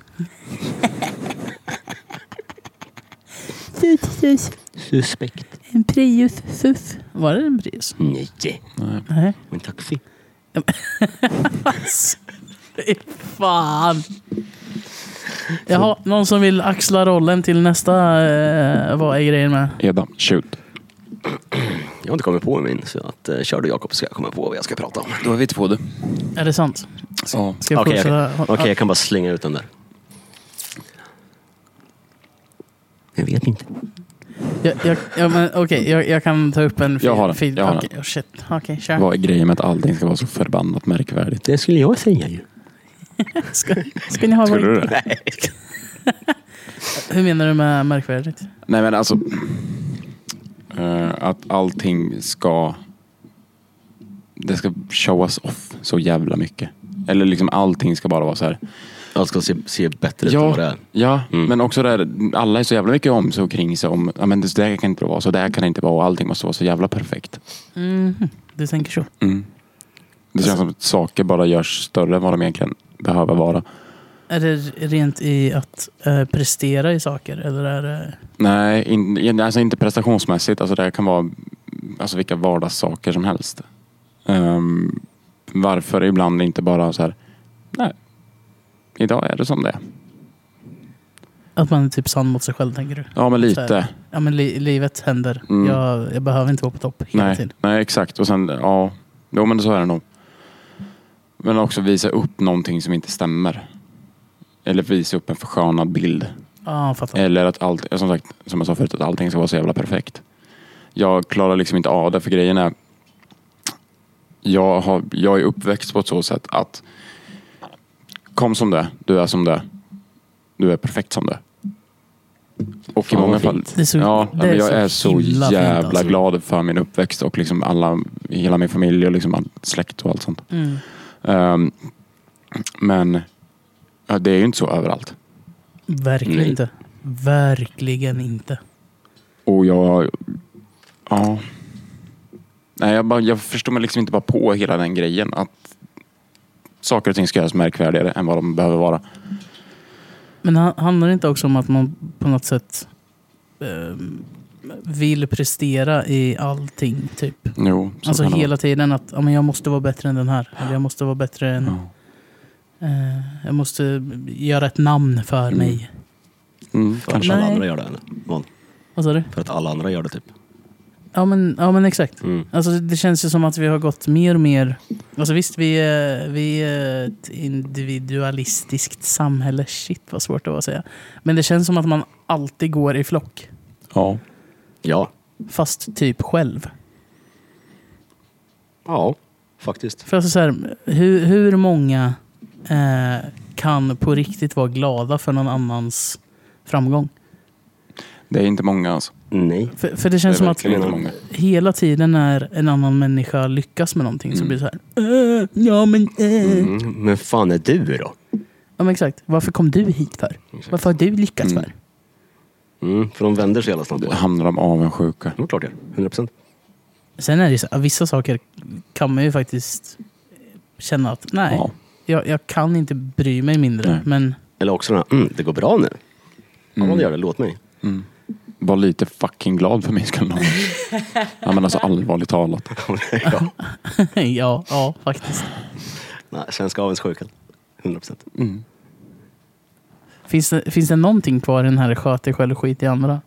B: [LAUGHS] Sus, sus.
D: Suspekt.
B: En Prius, sus. Var det en Prius?
D: Nej.
B: Nej.
D: Men taxi.
B: Fy fan. Jaha, någon som vill axla rollen till nästa, eh, vad är grejen med?
C: Eda, shoot.
D: Jag har inte kommit på min så att eh, kör du Jakob ska jag komma på vad jag ska prata om.
C: Då är vi två du.
B: Är det sant?
C: Ja.
B: Ska jag
D: Okej,
B: fortsätta?
D: okej. Okej, jag kan bara slänga ut den där. Jag vet inte.
B: Jag, jag, ja, men, okej, jag, jag kan ta upp en
C: Jag har den,
B: feed-
C: jag har
B: okej, oh, shit. Okej, kör.
C: Vad är grejen med att allting ska vara så förbannat märkvärdigt?
D: Det skulle jag säga ju.
B: Ska, ska ni ha
C: Skulle
B: vad-
C: du det?
B: [LAUGHS] Hur menar du med märkvärdigt?
C: Nej men alltså. eh, att allting ska. Det ska showas off så jävla mycket. Eller liksom allting ska bara vara så här.
D: Allt ska se, se bättre ut än vad det
C: Ja,
D: är.
C: ja
D: Mm.
C: men också där alla är så jävla mycket om sig och kring sig om. Ja, men det där kan inte vara så, där kan det inte vara och allting måste vara så jävla perfekt.
B: Mhm, du tänker så.
C: Mm. Det känns som att saker bara görs större än vad de egentligen behöver vara.
B: Är det rent i att eh, prestera i saker? Eller är det...
C: Nej, in, in- alltså inte prestationsmässigt. Alltså det kan vara alltså vilka vardagssaker som helst. Ehm, varför ibland inte bara så här, nej, idag är det som det är.
B: Att man är typ sann mot sig själv, tänker du?
C: Ja, men
B: Så
C: lite.
B: Ja, men li- livet händer.
C: Mm.
B: Jag, jag behöver inte vara på topp hela
C: Nej,
B: tiden.
C: nej, exakt. Och sen, ja, jo, men så är det nog. Men också visa upp någonting som inte stämmer. Eller visa upp en förskönad bild.
B: Ja, jag fattar.
C: Eller att allt, som sagt, som jag sa förut, att allting ska vara så jävla perfekt. Jag klarar liksom inte av det, för grejen är... Jag, har, jag är uppväxt på ett så sätt att... Kom som det, du är som det. Du är perfekt som det. Och
D: Fan,
C: i många
D: vad
C: fall...
B: Det är så-
C: ja,
B: det
C: men
B: är
C: jag
B: så
C: är så
B: himla fint,
C: jävla
B: alltså.
C: glad för min uppväxt och liksom alla, hela min familj och liksom all släkt och allt sånt.
B: Mm.
C: Ehm, men ja, det är ju inte så överallt.
B: Verkligen
D: Nej.
B: inte. Verkligen inte.
C: Och jag... Ja. Nej, jag, bara, jag förstår mig liksom inte bara på hela den grejen. Att saker och ting ska göras märkvärdigare än vad de behöver vara.
B: Men han- handlar det inte också om att man på något sätt eh, vill prestera i allting? Typ.
C: Jo, så
B: Alltså
C: kan det
B: hela tiden att ja, men jag måste vara bättre än den här. Eller jag måste vara bättre än...
C: vara. Ja.
B: Eh, jag måste göra ett namn för
C: Mm.
B: mig.
C: Mm,
D: För att
C: kanske.
D: alla
B: Nej.
D: andra gör det. eller? Vad?
B: Vad sa du?
D: För att alla andra gör det typ.
B: Ja men, ja, men exakt.
D: Mm.
B: Alltså, det känns ju som att vi har gått mer och mer... Alltså, visst, vi är, vi är ett individualistiskt samhälle. Shit, vad svårt det var att säga. Men det känns som att man alltid går i flock,
C: Ja.
D: Ja.
B: fast typ själv.
D: Ja, faktiskt.
B: För alltså, så här, hur, hur många eh, kan på riktigt vara glada för någon annans framgång?
C: Det är inte många alltså.
D: Nej.
B: För, för det
C: Det är
B: känns som att
C: verkligen inte många.
B: hela tiden när en annan människa lyckas med någonting så
C: Mm.
B: blir det så här... "Eh, ja, men... eh."
D: Mm. Men fan är du då?
B: Ja, men exakt. Varför kom du hit för? Varför har du lyckats
C: Mm.
B: för?
D: Mm, för de vänder sig jävla snabbt på
C: Det
D: det.
C: handlar om avundsjuka.
D: Ja, klart det gör. 100 procent.
B: Sen är det ju så att vissa saker kan man ju faktiskt känna att nej,
C: Ja.
B: jag, jag kan inte bry mig mindre.
C: Nej.
B: Men [LAUGHS]
D: Eller också den här, mm, det går bra nu. Ja,
C: Mm.
D: det gör det. Låt mig. [LAUGHS]
C: Mm. Var lite fucking glad för min skull någon. ja, men alltså allvarligt talat.
D: ja.
B: ja, ja, faktiskt.
D: Nej, svenska avundsjukan. 100 procent.
C: Mm.
B: Finns det, finns det någonting kvar i den här sköt dig själv och skit i andra?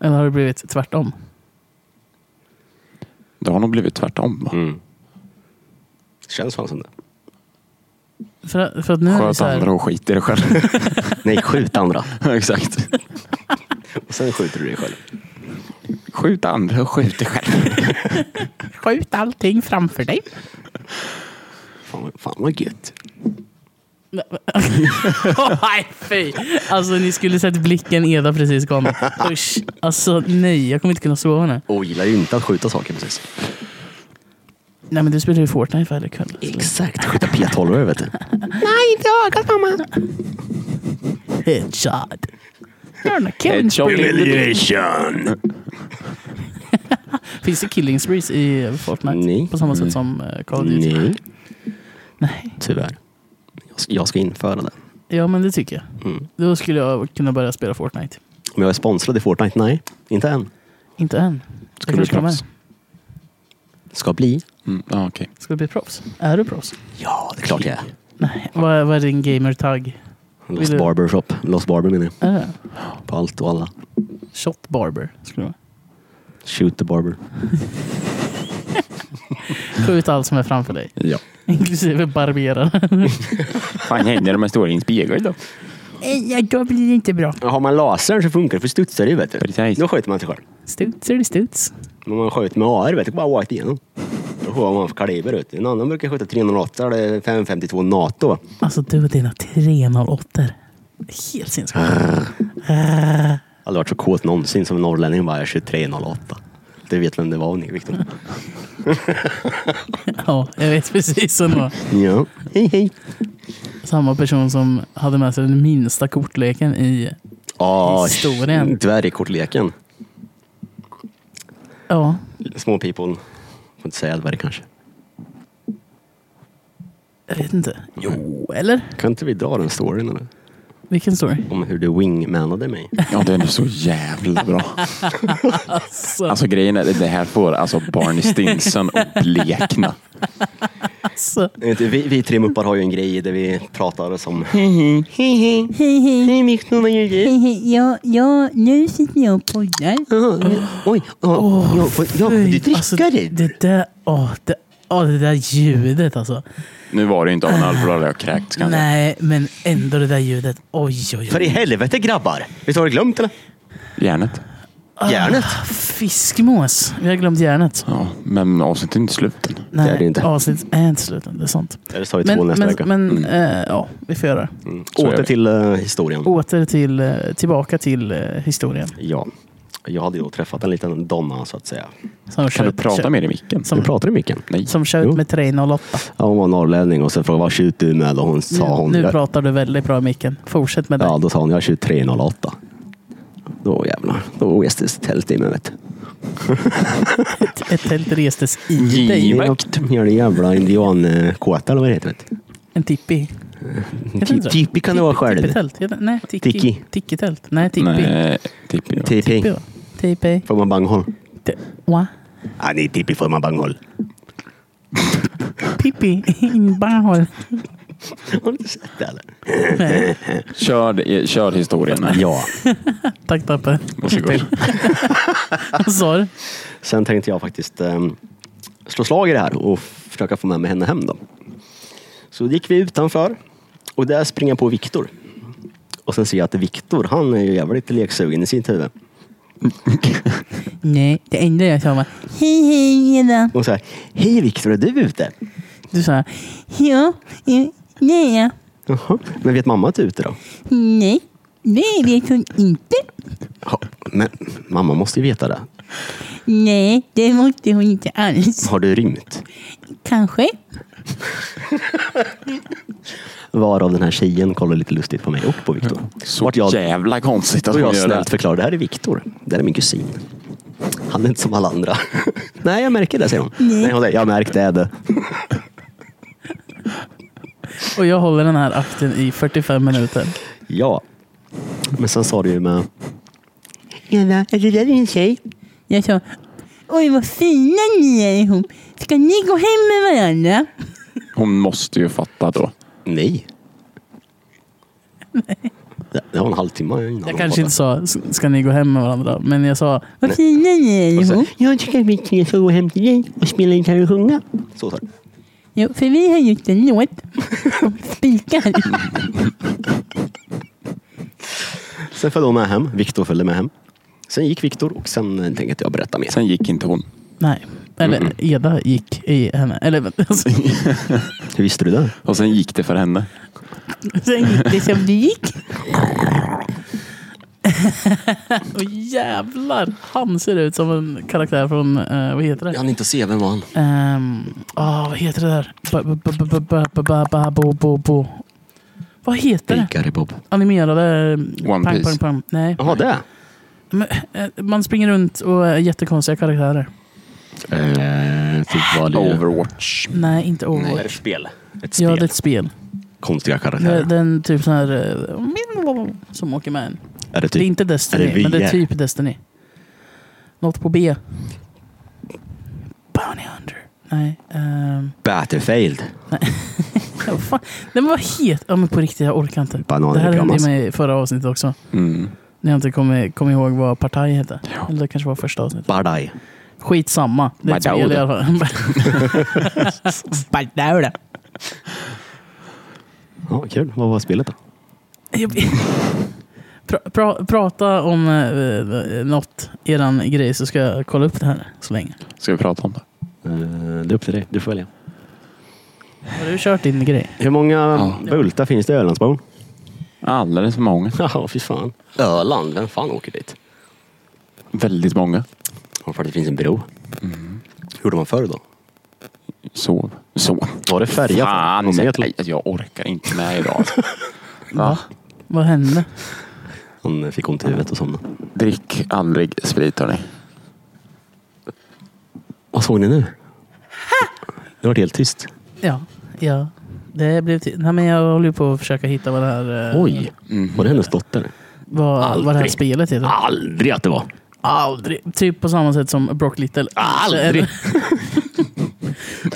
B: Eller har det blivit tvärtom? Mm.
C: Det har nog blivit tvärtom. Va?
D: Mm. Känns fan som det.
B: För, för att nu är det
C: Sköt
B: så här,
C: andra och skit i dig själv. [LAUGHS]
D: Nej, skjut andra.
C: Exakt.
D: Och sen skjuter du dig själv.
C: Skjut andra och skjut dig själv.
B: skjut allting framför dig. [LAUGHS]
D: Fan, vad- fan vad gött.
B: nej, fy! Alltså ni skulle sett blicken Eda precis gav mig. Usch. Alltså nej, jag kommer inte kunna sova nu.
D: Och gillar ju inte att skjuta saker precis.
B: Nej men du spelar ju Fortnite varje kväll.
D: Exakt, skjuta p-12 vet du.
B: Headshot. You're not killing
C: Headshot.
B: spree.
D: Humiliation!
B: Finns det killing sprees i Fortnite?
D: Nej.
B: På samma sätt som eh, Call of Duty?
D: Nej,
B: Nej.
D: tyvärr. Jag ska- Jag ska införa det.
B: Ja men det tycker jag.
D: Mm.
B: Då skulle jag kunna börja spela Fortnite.
D: Om jag är sponsrad i Fortnite? Nej, inte än.
B: Inte än.
C: Ska du bli proffs?
D: Ska bli.
C: Mm, ja, okej.
B: Ska du bli proffs? Är du proffs?
D: Ja, det är klart jag är.
B: Nej. Vad är, vad är din gamer-tagg? Vill
D: Lost
B: du-
D: Barbershop. Lost Barber menar jag.
B: Är det?
D: På allt och alla.
B: Shot barber skulle det vara. [LAUGHS]
D: Shoot the barber.
B: Skjut allt som är framför dig. [LAUGHS]
C: Ja.
B: Inklusive [LAUGHS] barberaren.
C: Fan händer de här stora i en spegel då?
B: Nej, då blir det inte bra.
D: Har man laser så funkar det, för studsar det vet du.
C: Precis.
D: Då skjuter man sig själv.
B: Studs är det studs.
D: Men om man skjuter med AR vet du, bara rakt igenom. Då får man för kaliber ut. En annan brukar skjuta 308 eller 552 NATO. va?
B: Alltså du och dina 308 Helt sinnessjukt.
D: Aldrig varit så kåt någonsin som en norrlänning bara, jag kör 308. Du vet vem det var, ni, Viktor.
B: Ja, jag vet precis. som det var.
D: Ja. Hej, hej.
B: Samma person som hade med sig den minsta kortleken i...
D: Ah,
B: Historien.
D: Dvärgkortleken.
B: Ja,
D: Små people. Får inte säga dvärg kanske.
B: jag vet inte. Jo, eller?
D: Kan inte vi dra den storyn eller?
B: Vilken story?
D: Om hur du wingmanade mig.
C: Ja, den är så jävla bra.
B: Alltså,
C: Alltså grejen är, det här får alltså Barney Stinson att blekna.
B: alltså.
D: Jag vet inte, vi, vi tre muppar har ju en grej där vi pratar som...
F: Ja, ja, nu sitter jag och poddar.
D: Oj, oh, jag, får- jag, får du dricker
B: alltså,
D: det?
B: det där, åh, det, åh, det där ljudet alltså.
C: Nu var det ju inte av en alkohol jag kräkts kanske.
B: Nej, men ändå det där ljudet. Oj, oj, oj.
D: För i helvete grabbar! Visst har du glömt eller?
C: Järnet.
D: Järnet!
B: Ah, Fiskmås. Vi har glömt järnet.
C: Ja, men avsnittet är inte slut än.
B: Nej,
D: det är det inte.
B: Avsnittet är inte slut än, Det är sant.
D: Eller så har vi två
B: Men,
D: nästa
B: men,
D: vecka.
B: men eh, ja, vi får göra det.
D: Mm.
C: så gör
D: Åter
C: vi.
D: till eh, historien.
B: Åter till, eh, tillbaka till eh, historien.
D: Ja. Jag hade ju då träffat en liten donna så att säga.
B: Som
C: Kan du prata mer i micken?
B: Som,
D: pratar i micken?
C: Nej.
B: som tjöt
D: Jo.
B: med 308.
D: Ja, hon var norrlänning och så frågade vad skjuter du med? Och hon sa hon...
B: nu
D: jag-
B: pratar du väldigt bra i micken. Fortsätt med det.
D: Ja, då sa hon jag kör 308. Då jävlar, då restes tält i mig vet du.
B: Ett tält restes i dig.
C: Givet.
D: Gör det jävla indiankåta eller vad det heter. Vet.
B: En tippi. Heter inte
D: Ti-
B: det?
D: Tipi kan det vara själv.
B: Tippetält? Heter- Nej, tiki.
D: Tiki.
B: Tiki-tält. Nej, tippi.
C: Nej, tippi. ja.
B: Tippi,
D: Tipi.
B: va? Tippi.
D: Får man banghåll?
B: Ti- wa.
D: Ja, nej, tipi får man banghåll. [LAUGHS]
B: [LAUGHS] Pippi. In barnhål.
D: Har du inte sett det eller?
B: Nej.
C: Kör, det- kör historien. här.
D: Ja.
B: Tack Tappe.
C: Varsågod.
B: Vad sa du?
D: Sen tänkte jag faktiskt ehm, slå slag i det här och försöka få med mig henne hem då. Så gick vi utanför och där springer jag på Viktor. Och sen ser jag att Viktor, han är ju jävligt leksugen i sitt huvud.
B: Nej, det enda jag sa var
F: Hej, hej, Eda.
D: Och säger, hej Viktor, är du ute?
B: Du sa
F: Ja, ja, det är jag.
D: Jaha, men vet mamma att du är ute då?
F: Nej, det vet hon inte.
D: Ja, men mamma måste ju veta det.
F: Nej, det måste hon inte alls.
D: Har du rymt?
F: Kanske.
D: Varav den här tjejen kollar lite lustigt på mig och på Viktor.
C: Så
D: Vart jag,
C: jävla konstigt att
D: och
C: hon
D: jag
C: gör
D: snällt
C: det.
D: förklarar, det här är Viktor. Det här är min kusin. Han är inte som alla andra. [LAUGHS] Nej, jag märker det, säger hon. Nej, hon säger, jag märkte det.
B: Och jag håller den här akten i 45 minuter.
D: Ja. Men sen sa du ju med...
F: Eda, är det där din tjej? Jag sa, oj vad fina ni är ihop. Ska ni gå hem med varandra?
C: Hon måste ju fatta då.
D: Nej. Det- Det var en halvtimme innan
B: Jag
D: hon
B: kanske
D: fattade.
B: inte sa, "S- ska ni gå hem med varandra? Men jag sa,
F: Vad fina ni är
D: Och så,
F: ihop.
D: jag tycker att vi tre ska gå hem till dig och spela gitarr och sjunga. Så sa du.
F: Jo, för vi har gjort en låt
C: [LAUGHS]
F: om spikar.
D: Sen följde hon med hem. Viktor följde med hem. Sen gick Viktor och sen eh, tänkte jag berätta mer.
C: Sen gick inte hon.
B: Nej. Eller Eda gick i henne. Eller [LAUGHS] vänta, alltså,
D: Hur visste du det?
C: Och sen gick det för henne.
B: [LAUGHS] sen gick det som det gick. Och jävlar, han ser ut som en karaktär från, eh, vad heter det?
D: hann inte se, vem var han?
B: Ehm, ah, vad heter det där? Ba- ba- ba- ba- ba- ba- ba- ba- bo- bo- bo. Vad heter det?
D: Dejkare Bob.
B: Animerade... eh,
C: One
B: pang,
C: Piece.
B: pang, pang. Nej.
D: Jaha, det?
B: Men, eh, Man springer runt och är jättekonstiga karaktärer.
D: Eh, typ vad
C: Overwatch.
B: Nej, inte
E: Vad är
B: Overwatch.
E: det för spel?
D: Ett
B: Ja,
D: spel.
B: det är ett spel.
D: Konstiga
B: Det,
D: karaktärer.
B: det är en typ sån här... eh, Som åker med en.
D: är det
B: Det är
D: typ
B: inte Destiny,
D: Är det
B: men det är
D: VR?
B: typ Destiny. Något på B. Bounty Hunter. Nej. ehm, [LAUGHS]
D: Battlefield?
B: ja, fan. Den var het. Ja, men på riktigt, jag orkar inte.
D: Bananer
B: Det här
D: i
B: hände
D: pyjamas.
B: ju mig i förra avsnittet också.
C: Mm.
B: När jag inte kommer kom ihåg vad partaj hette. Eller det kanske var första avsnittet.
D: Bardaj.
B: Skitsamma. Det är ett
C: Badaud.
B: spel i alla fall. [LAUGHS] Badaud.
D: Ja, kul. Vad var spelet då?
B: Jag vet- pra, pra, prata om eh, något, eran grej, så ska jag kolla upp det här så länge.
C: Ska vi prata om det?
D: Eh, det är upp till dig. Du får välja.
B: Har du kört din grej?
D: Hur många
C: Ja.
D: Bultar finns det i Ölandsbron? [LAUGHS]
C: Alldeles för många.
D: Ja, fy fan. Öland? Vem fan åker dit?
C: Väldigt många.
D: Ja, För att det finns en bro. Mm. Gjorde man förr då?
C: Sov. Sov.
D: Var det färja?
C: Fan,
D: Någon som
C: nej,
D: heter-
C: jag orkar inte med
D: [LAUGHS]
C: idag. Va?
B: Vad hände?
D: Han fick ont i huvudet och somnade.
C: Drick aldrig sprit hörni.
D: Vad såg ni nu? Det var helt tyst.
B: Ja, ja. Det blev till. Nej, men jag håller ju på att försöka hitta vad det här, eh,
D: Oj! Var det hennes dotter?
B: vad, vad det här
D: aldrig. Ah.
B: spelet heter.
D: Aldrig att det var!
B: Aldrig. Typ på samma sätt som Brock Little.
D: Aldrig.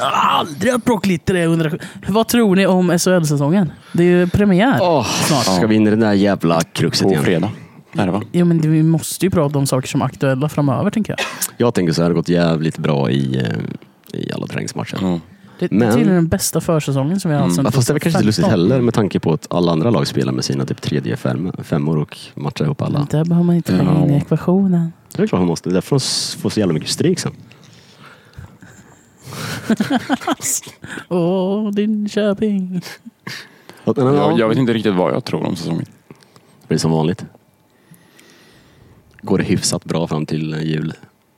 B: [LAUGHS] Aldrig att Brock Little är 107. Vad tror ni om SHL-säsongen? Det är ju premiär.
D: Snart ska vi in i det där jävla kruxet
C: På
D: igen.
C: fredag. Är det va?
B: Jo, men det- vi måste ju prata om saker som är aktuella framöver, tänker jag.
D: Jag tänker så här, det har gått jävligt bra i, eh, i alla träningsmatcher.
C: Mm.
B: Det, det är
D: Men-
B: tydligen den bästa försäsongen som vi har haft
D: Ja,
B: sedan
D: Fast det är väl kanske inte
B: 2015.
D: lustigt heller med tanke på att alla andra lag spelar med sina typ tredje fem, femmor och matchar ihop alla.
B: Där behöver man inte lägga in i ekvationen.
D: Det är klart man måste. Det är därför de s- får så jävla mycket stryk sen.
B: Åh, din Köping.
D: Att, men, ja,
C: Jag, jag vet inte riktigt vad jag tror om säsongen.
D: Det blir som vanligt. Går det hyfsat bra fram till eh, jul.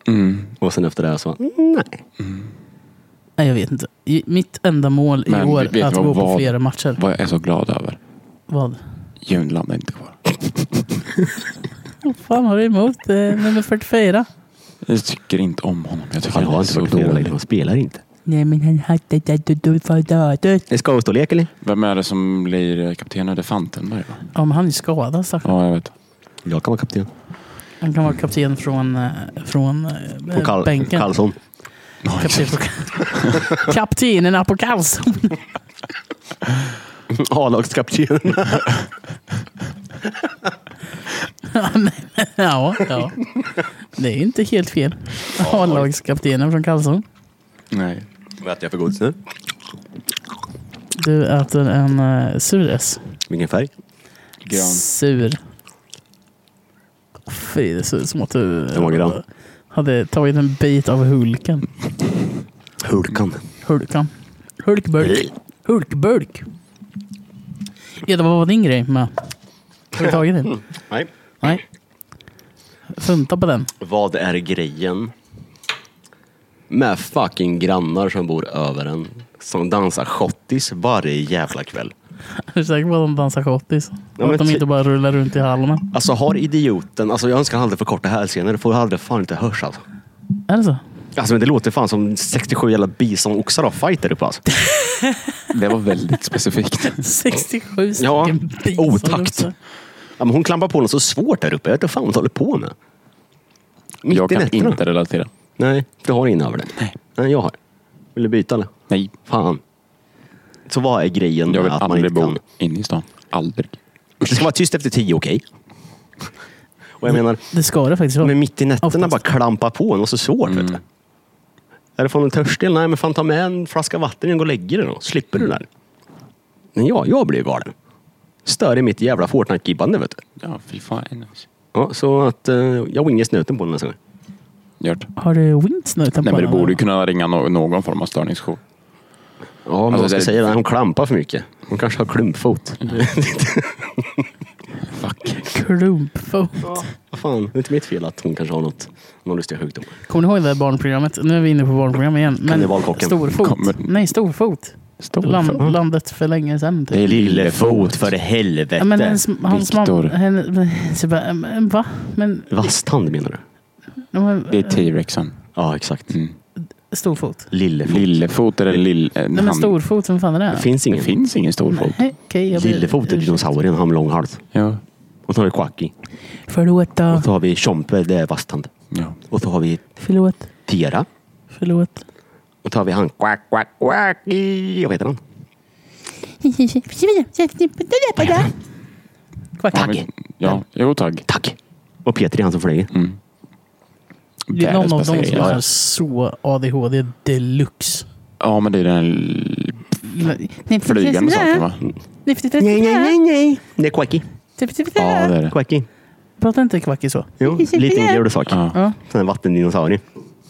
C: Mm.
D: Och sen efter det här så, nej.
B: Nej, jag vet inte. I- Mitt enda mål i
C: Men
B: år
C: vet ni
B: är att
C: vad-
B: gå på
C: vad-
B: flera matcher.
C: Vad jag är så glad över.
B: Vad?
C: Ljungland är inte kvar.
B: Vad fan har du emot eh, nummer 44?
C: Jag tycker inte om honom. Jag tycker
D: Han har inte
C: så
D: varit flera längre,
C: dålig.
D: han spelar inte.
F: Nej, men han hade det du var död.
D: Det är skavstorlek eller?
C: Vem är det som blir kapten nu? Det är Fantenberg va?
B: Ja, men han är skadad stackarn.
C: Ja, jag vet.
D: Jag kan vara kapten.
B: Han kan vara kapten från, eh, från eh,
D: På Karl-
B: bänken.
D: Karlsson. [LAUGHS]
B: Kapten
C: [LAUGHS]
B: på, kaptenerna på Karlsson.
D: A-lagskapten.
B: ja, men- ja, ja. Det är ju inte helt fel. A-lagskaptenen från Karlsson.
C: Nej.
D: Vad äter jag för godis nu?
B: Du äter en eh, sures.
D: Vilken färg?
C: Grön.
B: Sur. Fy, det ser ut som att du
D: Den var grön.
B: hade tagit en bit av Hulken.
D: Hulkan.
B: Hulkan. Hulkburk. Hulkburk. Eda, vad var din grej med? Har du tagit
D: [LAUGHS]
B: den?
D: Nej.
B: Nej. Funta på den.
D: Vad är grejen med fucking grannar som bor över en som dansar schottis varje jävla kväll?
B: Är du säker på att de dansar schottis?
D: Ja,
B: Och
D: men
B: att de
D: ty-
B: inte bara rullar runt i halmen?
D: Alltså har idioten, alltså jag önskar han hade för korta hälsenor, det får aldrig fan inte hörs alltså.
B: Är det så?
D: Alltså men det låter fan som 67 jävla bisonoxar har fight där uppe alltså.
C: Det var väldigt specifikt.
B: 67 stycken
D: Ja,
B: bison
D: otakt.
B: också.
D: Ja, men hon klampar på något så svårt där uppe, jag vet inte fan vad hon håller på med. Mitt
C: Jag
D: i
C: kan
D: nätterna.
C: inte relatera.
D: Nej, du har ingen över det.
C: Nej.
D: Nej, jag har. Vill du byta eller?
C: Nej.
D: Fan. Så vad är grejen
C: Jag vill
D: med att man
C: aldrig
D: inte
C: bo
D: kan?
C: inne i stan. Aldrig.
D: Det ska vara tyst efter tio, okej? Och jag menar,
B: Det ska det faktiskt vara.
D: men mitt i nätterna
B: Oftast.
C: Mm.
D: bara klampa på en, vad så svårt vet du. Är det från en törstig? Nej, men fan ta med en flaska vatten in och lägg dig då. Slipper du det där. Men ja, jag blir galen. Stör i mitt jävla Fortnite-gibbande vet du.
C: Ja, fy fan.
D: Ja, så att eh, jag wingar snuten på den nästa gång.
C: Gjort.
B: Har du Wints nu?
C: Nej, men du borde ju kunna ringa nå- någon form av störningsjour.
D: Ja, men
C: Alltså,
D: vad ska
C: det- Mm.
D: jag säga? Hon klampar för mycket. Hon kanske har klumpfot.
C: Fuck.
B: Klumpfot.
D: Vad fan, det är inte mitt fel att hon kanske har något, någon lustig sjukdom.
B: Kommer ni ihåg det där barnprogrammet? Nu är vi inne på barnprogram igen. Men
D: Kannibalkocken.
B: storfot.
C: Kommer.
B: Nej, storfot. Land, landet för länge sedan. Typ.
D: Lillefot, för helvete.
B: Ja, men ens, hans
C: Viktor.
B: mamma... henne- Så bara, "Em, em, va? Men,
D: Vasstand menar du?
B: ja, men,
C: Det är T-rexen.
D: Ja, exakt.
C: Mm.
B: storfot.
D: Lillefot.
C: Lillefot eller lill... eh,
B: Nej, men
C: han-
B: storfot, vem fan är det?
D: Det finns
C: Det
D: ingen.
C: finns ingen storfot.
B: Nej, okej, jag ber-
D: Lillefot är dinosaurien, han med lång hals.
C: Ja.
D: Och så har vi Quacky.
B: Förlåt då.
D: Och så har vi Tjompe, det är Vasstand.
C: ja.
D: Och så har vi
B: Förlåt.
D: Tera.
B: Förlåt.
D: Och så har vi han Quack, Quack, Quacky. Vad heter han?
B: Kvack.
C: Ja, men- Ja, jo tack.
D: Tack! Och Peter är han som flyger.
B: Mm. Det är någon av dem som
C: ja.
B: har så ADHD deluxe.
C: ja, men det är den l- flygande saken va?
D: Nej, nej, nej, nej. Det är Quacky.
C: Ja, det är det.
D: Quacky.
B: Pratar inte Kvacki så? [LAUGHS]
D: Jo, lite enklare sak.
C: Ja.
B: Ja.
D: Sån här vattendinosaurie.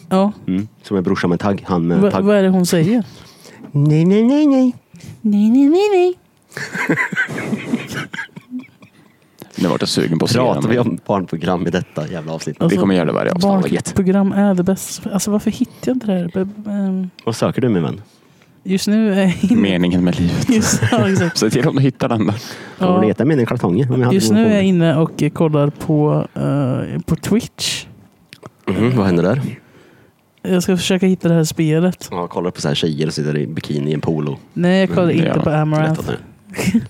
B: ja.
D: Mm. Som är brorsan med tagg. Han med
B: Va-
D: tagg.
B: vad är det hon säger?
D: Nej, nej, nej, nej.
F: Nej, nej, nej, nej.
C: Nu vart jag sugen på att se
D: Pratar
C: den.
D: vi om barnprogram i detta jävla avsnitt?
C: Vi kommer göra det varje avsnitt. Vad gött.
B: Barnprogram är det bästa. Alltså varför hittar jag inte det här? B- ehm,
D: Vad söker du min vän?
B: Just nu är jag
D: [LAUGHS]
B: inne...
C: Meningen med livet. [LAUGHS]
B: Just, ja, exakt.
C: Se till om du hittar den där.
D: Kommer
B: Ja.
D: du leta med dina kalsonger? Om jag hade
B: Just
D: någon
B: nu
D: på
B: är jag
D: mig.
B: inne och eh, kollar på, eh, på Twitch.
D: Mhm, vad händer där?
B: Jag ska försöka hitta det här spelet.
D: Ja, kollar på så här tjejer och sitter i bikini i en polo.
B: Nej, alltså. jag kollar
C: Mm, ja.
B: inte på
D: Lätt att
B: Amaranth.
D: du-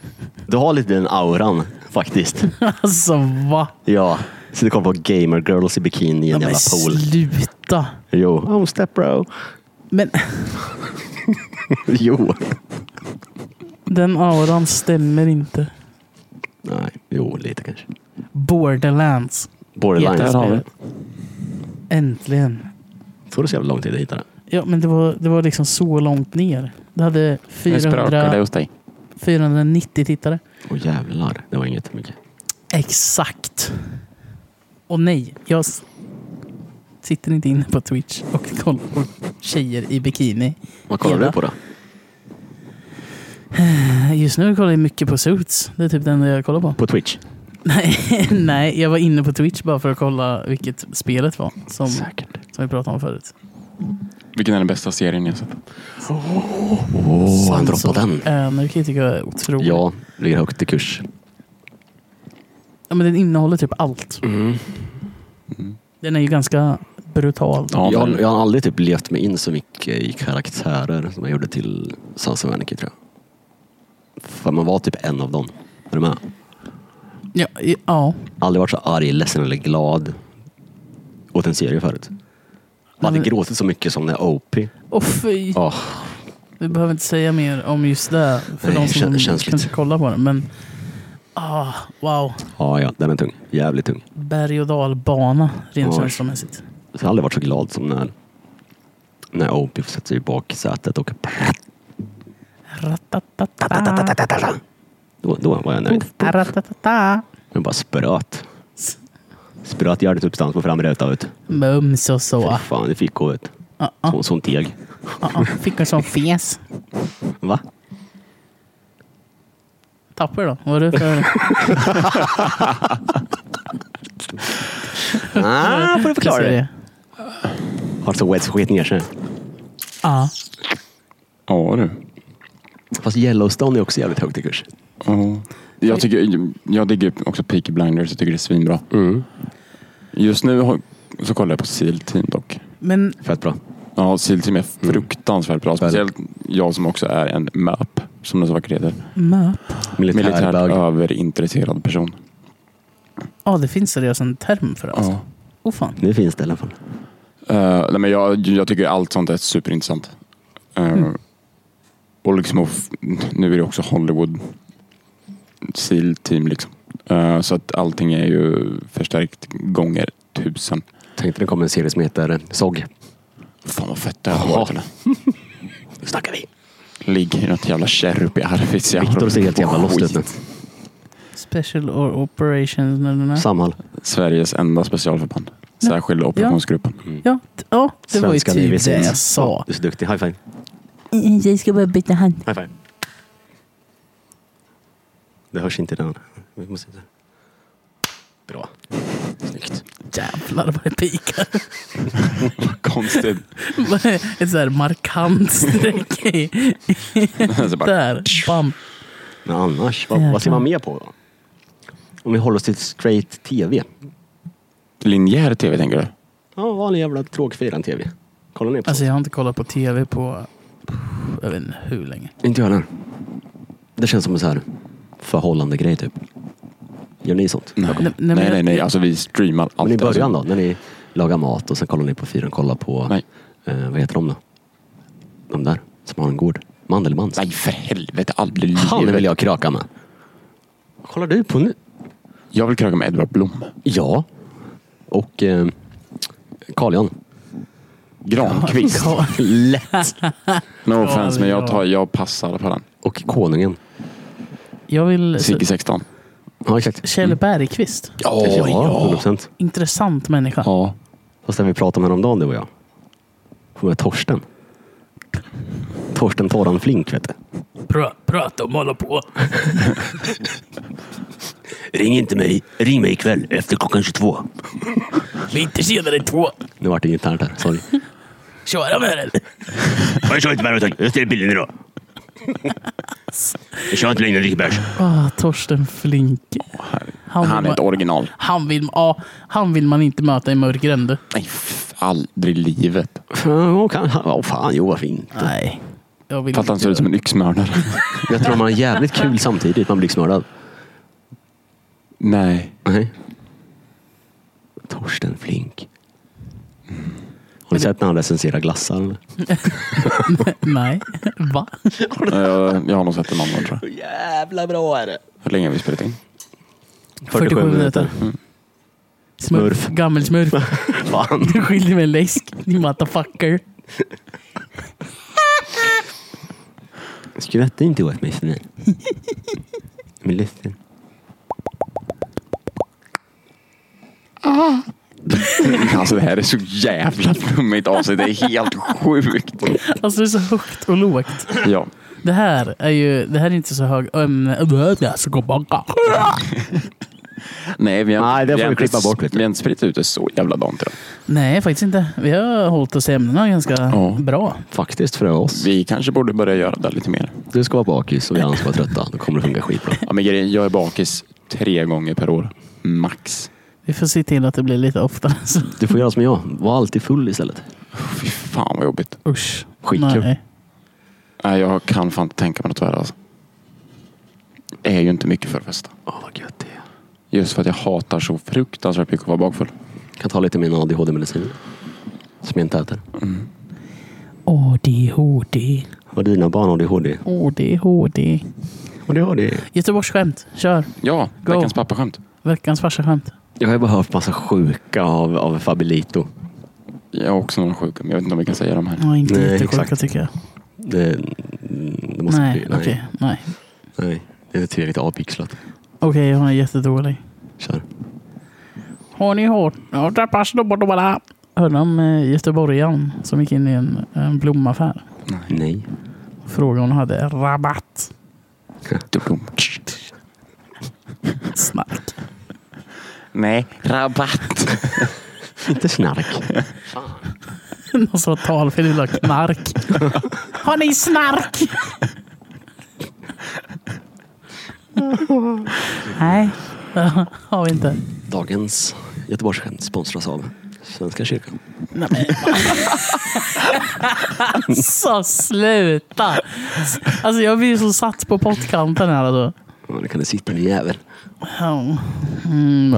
D: Du har lite den auran
B: [LAUGHS]
D: faktiskt.
B: Alltså va?
D: Ja, så du kollar på gamer girls i bikini i en
B: Men
D: jävla pool.
B: sluta!
D: Jo. Oh, step bro.
B: Men
D: [LAUGHS] Jo.
B: den auran stämmer inte.
D: Nej, jo lite kanske.
B: Borderlands.
D: Borderline.
C: Där har vi det.
B: Äntligen.
D: Tog det så jävla lång tid att hitta det?
B: Ja, men det var, det var liksom så långt ner. Det hade
C: Nu sprakar det
B: 400,
C: hos dig.
B: 490 tittare.
D: Åh jävlar, det var inget mycket.
B: Exakt. Och nej, jag s- sitter inte inne på Twitch och kollar på tjejer i bikini.
D: Vad kollar
B: Hela.
D: du på då?
B: Just nu kollar jag mycket på Suits. Det är typ den jag kollar på. [LAUGHS]
D: På Twitch?
B: Nej, nej, jag var inne på Twitch bara för att kolla vilket spelet var som, som
D: Säkert.
B: vi pratade om förut.
C: Vilken är den bästa serien jag sett?
D: Åh, han
B: Sons of
D: droppade den.
B: Anarchy tycker jag är otroligt.
D: Ja, ligger högt i kurs.
B: Ja, men den innehåller typ allt. Den är ju ganska brutal.
C: Ja,
D: jag,
C: men-
D: jag har aldrig typ levt mig in så mycket i karaktärer som jag gjorde till Sons of Anarchy tror jag. För man var typ en av dem. Är du med?
B: Ja, i- ja.
D: Aldrig varit så arg, ledsen eller glad åt en serie förut. Man hade
B: Men-
D: gråtit så mycket som när OP.
B: Och fy.
D: Oh,
B: Vi behöver inte säga mer om just det. För
D: Nej,
B: de
D: kän-
B: som
D: känsligt.
B: kanske kollar på den. Men ah, wow.
D: ja, ja, den är tung. Jävligt tung.
B: Berg och dalbana rent
D: Oj.
B: känslomässigt.
D: Så jag har aldrig varit så glad som när, när OP sätter sig i baksätet och
B: Ratatatata.
D: då, då var jag nöjd.
C: Oh.
B: Ratatatata.
D: Men bara spröt. Spröt hjärnsubstans på framrutan. vet du.
B: Mums och så.
D: Fy fan, det fick hon. vet du.
B: Ah, ah,
D: Hon som teg.
B: ah, ah. Fick en sån fes. [LAUGHS]
D: Va?
B: Tapper då? Vad är det för...
D: Ah, får du [LAUGHS] förklara det.
B: serie?
D: Har så wet skit ner sig.
B: Ja.
C: Ja du.
D: Fast Yellowstone är också jävligt högt i kurs.
C: Ja. Jag, tycker, jag digger också Peaky Blinders. Jag tycker det är svinbra. Just nu har, så kollar jag på Seal Team dock.
B: Men
D: Fett bra.
C: Ja, Seal Team är fruktansvärt bra. Speciellt jag som också är en MÖP, som det så vackert heter.
B: MÖP?
C: Militärt
D: Militärbög.
C: överintresserad person.
B: Ja, det finns seriöst en term för det. Åh
C: Ja.
B: oh, fan.
D: Nu finns det i alla fall.
C: Eh, nej, men jag, jag tycker allt sånt är superintressant. Eh, Och liksom, och f- nu är det också Hollywood SEAL team liksom. Eh, så att allting är ju förstärkt gånger tusen.
D: Tänkte det kommer en serie som heter SOG.
C: Fan vad fett det här har varit. eller?
D: Nu snackar vi.
C: Ligger i något jävla kärrup i Arvidsjaur.
D: Viktor ser helt jävla lost ut nu.
B: Special or operations. Nej, nej, nej.
D: Samhall.
C: Sveriges enda specialförband. Mm. Särskilda operationsgruppen.
B: Ja, t- ja, det var ju
D: Svenska
B: typ
D: Navy
B: det
D: Seals.
B: jag sa.
D: Du är så duktig. High five.
F: Jag ska bara byta hand.
D: High five. Det hörs inte i den. Vi måste... Bra. Snyggt.
B: Jävlar vad det pikar.
C: [LAUGHS]
B: [LAUGHS]
C: Konstigt.
B: Ett sådär markant streck i.
C: [LAUGHS] Så bara,
B: Där. Bam.
D: Men annars, vad,
B: Jäklar.
D: vad ser man mer på då? Om vi håller oss till straight tv.
C: linjär tv tänker du?
D: Ja, vanlig jävla tråkfirande tv. Kollar ni på
B: Alltså
D: sånt?
B: jag har inte kollat på tv på jag vet inte hur länge.
D: Inte jag heller. Det känns som en så här förhållande grej typ. Gör ni sånt?
C: Nej,
B: Nej,
C: nej,
B: men
C: nej.
B: jag-
C: nej, Alltså vi streamar allt.
D: Men i början
C: Mm. alltså.
D: då, när ni lagar mat och sen kollar ni på fyren, kollar på,
C: Nej.
D: eh, vad heter de då? De där som har en gård. Mandelmann.
C: Alltså, Nej, för helvete. Aldrig i
D: Han
C: livet.
D: vill jag kraka med. Vad kollar du på nu?
C: Jag vill kröka med Edvard Blom.
D: Ja. Och eh, Carl-Jan.
C: Granqvist.
B: Ja,
D: [LAUGHS] Lätt.
C: No offense, men
B: ja.
C: jag, tar, jag passar på den.
D: Och Konungen.
B: Jag vill...
C: Sigge 16.
D: Ja, exakt.
C: Mm.
B: Kjell Bergqvist.
D: ja, 100%.
B: Intressant människa.
C: Ja.
D: Fast den vi pratade om häromdagen du och jag. Hon är Torsten. Torsten Torran Flink vet du.
B: Pra, prata om hålla på.
D: Ring inte mig. Ring mig ikväll efter klockan 22.
B: Lite senare två.
D: Nu vart det internt här. Sorry.
B: Köra med den.
E: Jag kör inte med någonting. Jag ställer bilen idag. Jag kör inte längre än dricker bärs.
B: Ah, Torsten Flink. Han,
C: Han är
B: vill
C: ett
B: man,
C: original.
B: han, vill, ah, han vill man inte möta i mörkgränd. du.
C: Nej, f- aldrig i livet.
D: Åh kan, oh, fan, jo vad fint.
B: Nej. Jag vill
C: För att han
B: inte
C: ser ut som
B: göra
C: en yxmördare.
D: Jag tror man har jävligt kul samtidigt. Man blir lyxmördad.
C: Nej.
D: Nej. Torsten Flink. Har ni sett när han recenserar glassar? eller?
B: det. Nej. Va?
C: Jag, jag har nog sett det någon gång tror jag.
D: Jävla bra är det.
C: Hur länge har vi spelat
D: [LAUGHS]
C: in?
B: 47 minuter. Smurf.
D: [LAUGHS] Smurf.
B: Gammelsmurf.
D: Fan.
B: [LAUGHS] Du skyllde mig en läsk. Din motherfucker.
D: Skratta inte åt mig Sven. Men ledsen.
C: Alltså det här är så jävla flummigt avsnitt. Det är helt sjukt.
B: Alltså det är så högt och lågt.
C: Ja.
B: Det här är ju det här är inte så hög... ämne. Så gå baka.
C: Nej, vi har,
D: Nej, det får
C: har
D: vi
C: inte
D: klippa
C: s-
D: bort, vet du.
C: Vi har inte spritt ut det så jävla dant idag.
B: Nej, faktiskt inte. Vi har hållit oss i ämnena ganska bra.
D: Faktiskt för oss.
C: Vi kanske borde börja göra det lite mer.
D: Du ska vara bakis och vi andra ska vara trötta. Då kommer det funka skitbra.
C: Ja, men grejen, jag är bakis tre gånger per år. Max.
B: Vi får se till att det blir lite oftare. [LAUGHS] Så.
D: Du får göra som jag. Var alltid full istället.
C: Fy fan vad jobbigt.
B: Usch.
D: Skitkul.
B: Nej.
C: Nej, jag kan fan inte tänka mig något värre alltså. Det är ju inte mycket för att festa.
D: Åh vad gött det är.
C: Just för att jag hatar så fruktansvärt mycket att vara bakfull.
D: Kan ta lite av min ADHD-medicin. Som jag inte äter.
B: ADHD.
D: Har dina barn ADHD?
B: ADHD.
D: ADHD.
B: Göteborgsskämt. Kör.
C: Ja,
B: Go.
C: veckans pappaskämt.
B: Veckans farsaskämt.
D: Jag har ju bara hört massa sjuka av, av Fabelito.
C: Jag har också några sjuka, men jag vet inte om vi kan säga de här.
B: Ja, inte
D: Nej,
B: jättesjuka
D: exakt.
B: tycker jag.
D: Det, mm, det måste
B: Nej,
D: bli-
B: okej. Nej.
D: nej. Det är tillräckligt avpixlat.
B: Okej, hon är jättedålig.
D: Kör.
B: Har ni hört? Ja, där passar de bort och bara. Hörde om eh, göteborgaren som gick in i en, en blomaffär.
D: Nej.
B: Frågade om hon hade rabatt. Snack.
C: Nej, rabatt.
D: Inte [LAUGHS] snark.
B: [LAUGHS] Någon som var talfel ville ha [LAUGHS] knark. Har ni [LAUGHS] snark? Nej, [LAUGHS] har vi inte.
D: Dagens Göteborgsskämt sponsras av Svenska kyrkan.
B: Nej, [LAUGHS] men. Alltså sluta! Alltså jag blir så satt på pottkanten här alltså.
D: Ja, nu kan det sitta en jävel.
B: Ja. Mm.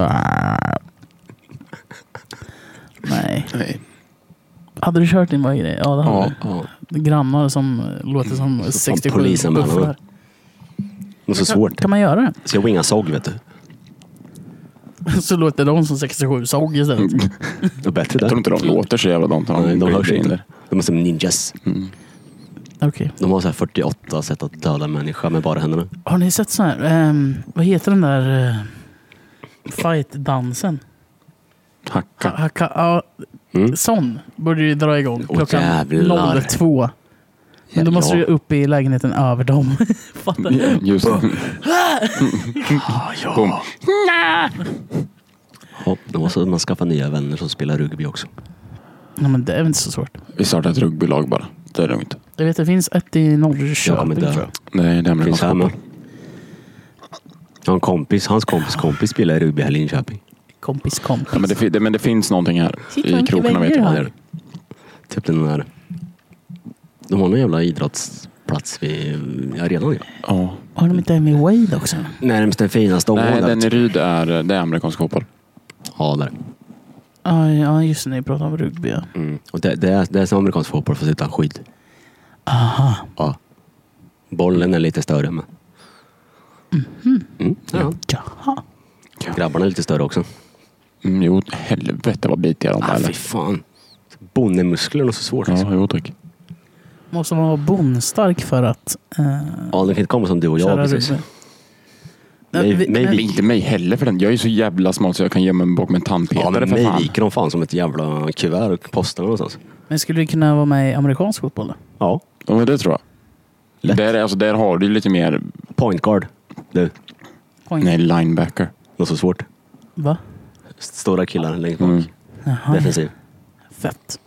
B: Nej.
C: Nej.
B: Hade du kört din grej? Ja, det hade
C: Ja.
B: du. Grannar som eh, låter som 67
D: polisanmälan.
B: bufflar.
D: Det är så
B: Kan,
D: svårt.
B: kan man göra det?
D: Ska jag winga såg vet du.
B: [LAUGHS] Så låter de som 67 såg istället.
D: [LAUGHS] Det är bättre
C: Jag tror
D: där.
C: inte de låter så jävla dant.
D: Nej, de hörs
C: blir in
D: inte.
C: där.
D: De är som ninjas.
B: Okej.
D: De har så här 48 sätt att döda en människa med bara händerna.
B: Har ni sett sån här, ehm, vad heter den där eh, fight-dansen? Ha-
D: Hacka.
B: hacka- ja,
D: Mm.
B: Sån borde ju dra igång
D: Åh,
B: klockan
D: jävlar.
B: 02. Men då måste du ju upp i lägenheten över dem. [LAUGHS] Fattar du?
C: Just Boom.
D: Ja, då måste man skaffa nya vänner som spelar rugby också.
B: Nej, men det är väl inte så svårt.
C: Vi startar ett rugbylag bara. Det är lugnt.
B: Jag vet, det finns ett i Norrköping.
D: Jag kommer dö.
B: tror jag.
C: Nej, det är amerikansk
D: Finns här med.
C: fotboll.
D: Jag har en kompis, hans kompis kompis spelar i rugby här i Linköping.
B: Kompis, kompis.
C: Ja, men, det, fi- det, men det finns någonting här. I krokarna vet jag vad det är.
D: Typ den där... De har någon jävla idrottsplats vid arenan. Ja.
C: Ja.
B: Har de inte med Wade också?
D: Närmst den finaste
C: Nej,
D: området.
C: den i Ryd är, det är amerikansk fotboll.
D: Ja, där.
B: Ja, ja, just det. Ni pratar om rugby. Ja.
D: Mm. Och det, det, är, det är som amerikansk fotboll fast utan skydd. Aha. Ja. Bollen är lite större med. Mm. Ja.
B: Jaha.
D: Grabbarna är lite större också.
C: Mm, jo, helvete vad bitiga de
D: Ah,
C: är.
D: fy fan. Bonnemusklerna är så svårt.
C: Ja,
D: Alltså.
C: jo tack.
B: Måste man vara bondstark för att eh,
D: Ja, de kan inte komma som du och jag
B: köra
D: precis.
B: rugby?
D: Nej,
B: vi-
D: nej,
B: men-
C: Men inte mig heller för den. Jag är så jävla smal så jag kan gömma mig bakom en
D: Ja,
C: tandpetare
D: men
C: för
D: mig
C: fan.
D: viker de fan som ett jävla kuvert och postar någonstans.
B: Men skulle du kunna vara med i amerikansk fotboll då?
D: Ja.
C: Ja, men det tror jag.
D: Lätt.
C: Där, är- alltså, där har du ju lite mer,
D: Point guard. Du,
B: Point.
C: nej linebacker.
D: något så svårt.
B: Va?
D: Stora killar längst bak.
C: Mm.
B: Jaha.
D: Defensiv.
B: Fett.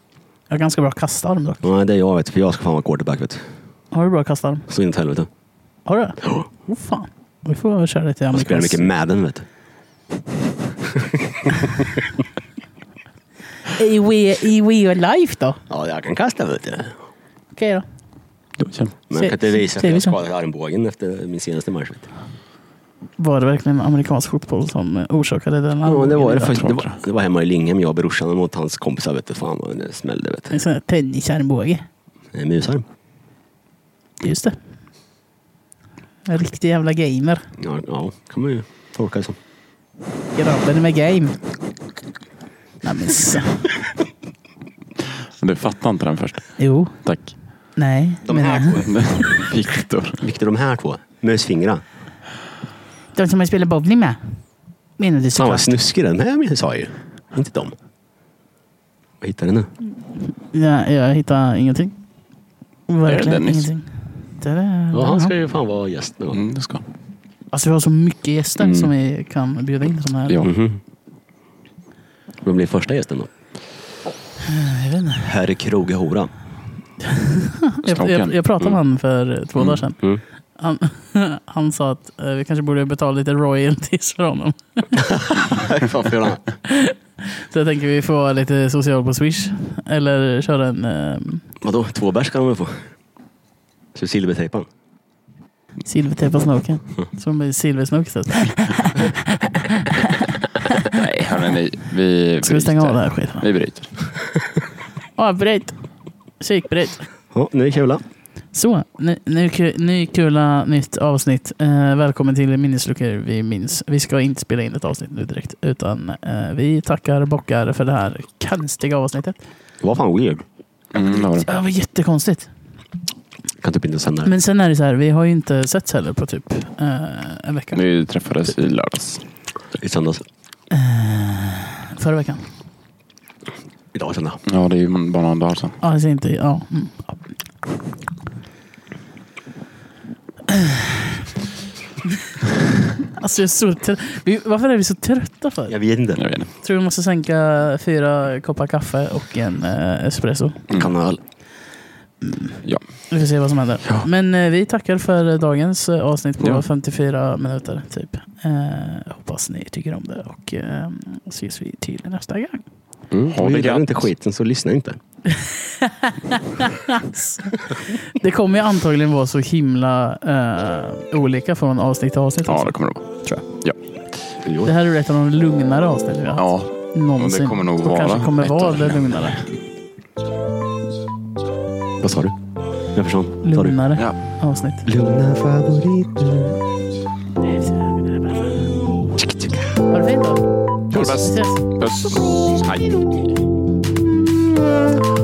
B: Jag har ganska bra kastarm dock.
D: Nej, det är jag vet. För jag ska fan vara quarterback vet du.
B: Har du bra kastarm?
D: Så in i helvete.
B: Har du det?
D: [GASPS]
B: Oh, fan. Vi får köra lite
D: Jag spelar
B: amerikansk.
D: mycket Madden vet du.
B: I, re- I real life då?
D: Ja, jag kan kasta vet du.
B: Okej då.
D: Men jag kan inte
B: Se- liksom.
D: visa
B: ser
D: för
B: vi
D: jag
B: så.
D: skadade armbågen efter min senaste match. Vet du.
B: Var det verkligen amerikansk fotboll som eh, orsakade den
D: Ja, det var det
B: Jag
D: faktiskt.
B: tror
D: Det
B: inte
D: var, det var hemma i Linghem, jag och brorsan mot hans kompisar. Vet du. Fan vad det smällde vet du.
B: En sån här tennisarmbåge.
D: En Musarm.
B: Just det. En riktig jävla gamer.
D: Ja, ja, kan man ju tolka det som.
B: Grabben med game. Nej men så.
C: Du fattar inte den först.
B: Jo.
C: Tack.
B: Nej.
D: De
B: men-
D: här två.
C: Viktor.
D: Viktor, de här två. Musfingrar.
B: De som jag spelar bowling med. Menar du
D: Fan
B: såklart?
D: vad snuskig den här sa jag ju. Inte dem. Vad hittade ni?
B: Ja, jag hittar ingenting. Verkligen
C: Dennis?
B: ingenting. Det är,
D: Ja, han ska ju fan vara gäst någon gång.
C: Mm, det ska.
B: Alltså vi har så mycket gäster
C: Mm.
B: som vi kan bjuda in. Som är,
C: Ja.
D: Mhm. Vem blir första gästen då?
B: jag, vet inte.
D: Herr [LAUGHS] Krogahora.
B: Jag, jag, jag pratade med honom för eh, två dagar sedan.
D: Mm.
B: Han, [LAUGHS] han sa att eh, vi kanske borde betala lite royalties för honom. Så jag tänker vi får vara lite social på Swish. Eller köra en eh,
D: Vadå, två bärs kan de väl få? Så silvertejpa han.
B: silvertejpad snoken. Som blir silversnok istället.
C: Nej, hörni, nej. Vi
B: Ska vi stänga
C: bryter.
B: av den här skiten?
C: Vi bryter.
B: Avbryt! Psykbryt!
D: Ja, nu är det kul.
B: Så, ny, ny, ku- ny kula, nytt avsnitt. Eh, välkommen till Minnesluckor vi minns. Vi ska inte spela in ett avsnitt nu direkt, utan eh, vi tackar bockar för det här konstiga avsnittet.
D: Det var fan weird.
C: Mm, det var det.
B: Ja, Det var jättekonstigt.
D: Kan typ inte sända det.
B: Men sen är det så här, vi har ju inte setts heller på typ eh, en vecka.
C: Vi träffades i lördags.
D: I söndags.
B: Förra veckan.
D: Idag är söndag.
C: Ja, det är ju bara några dagar sedan.
B: Ja, alltså inte, ja. Mm. Alltså jag är så trött. Vi- Varför är vi så trötta för?
D: Jag vet inte.
C: Jag vet inte.
B: Tror vi måste sänka fyra koppar kaffe och en eh, espresso.
D: Mm.
C: Mm.
D: Kan öl.
B: Vi får se vad som händer. Men eh, vi tackar för dagens eh, avsnitt på
C: Ja.
B: 54 minuter. Typ. Eh, hoppas ni tycker om det och eh, ses vi till nästa gång.
D: Mm.
C: Ha det
D: Gillar
C: gött.
D: du inte skiten så lyssna inte.
B: Det kommer ju antagligen vara så himla eh, olika från avsnitt till avsnitt.
C: Ja,
B: också.
C: det kommer det vara. Tror jag. Ja.
B: Det här är ett av de lugnare avsnitten vi har haft.
C: Ja, och
B: någonsin.
C: det kommer nog
B: Och
C: vara.
B: kanske kommer
C: ett
B: vara
C: av-
B: det lugnare.
D: Vad sa du? Jag förstår. Sa du?
B: Lugnare
C: Ja.
B: avsnitt.
D: Lugna favoriter.
B: Ha det fint då.
C: Ha det bäst.
B: Vi ses.
C: Puss. Hej.
A: Thank
D: Mm.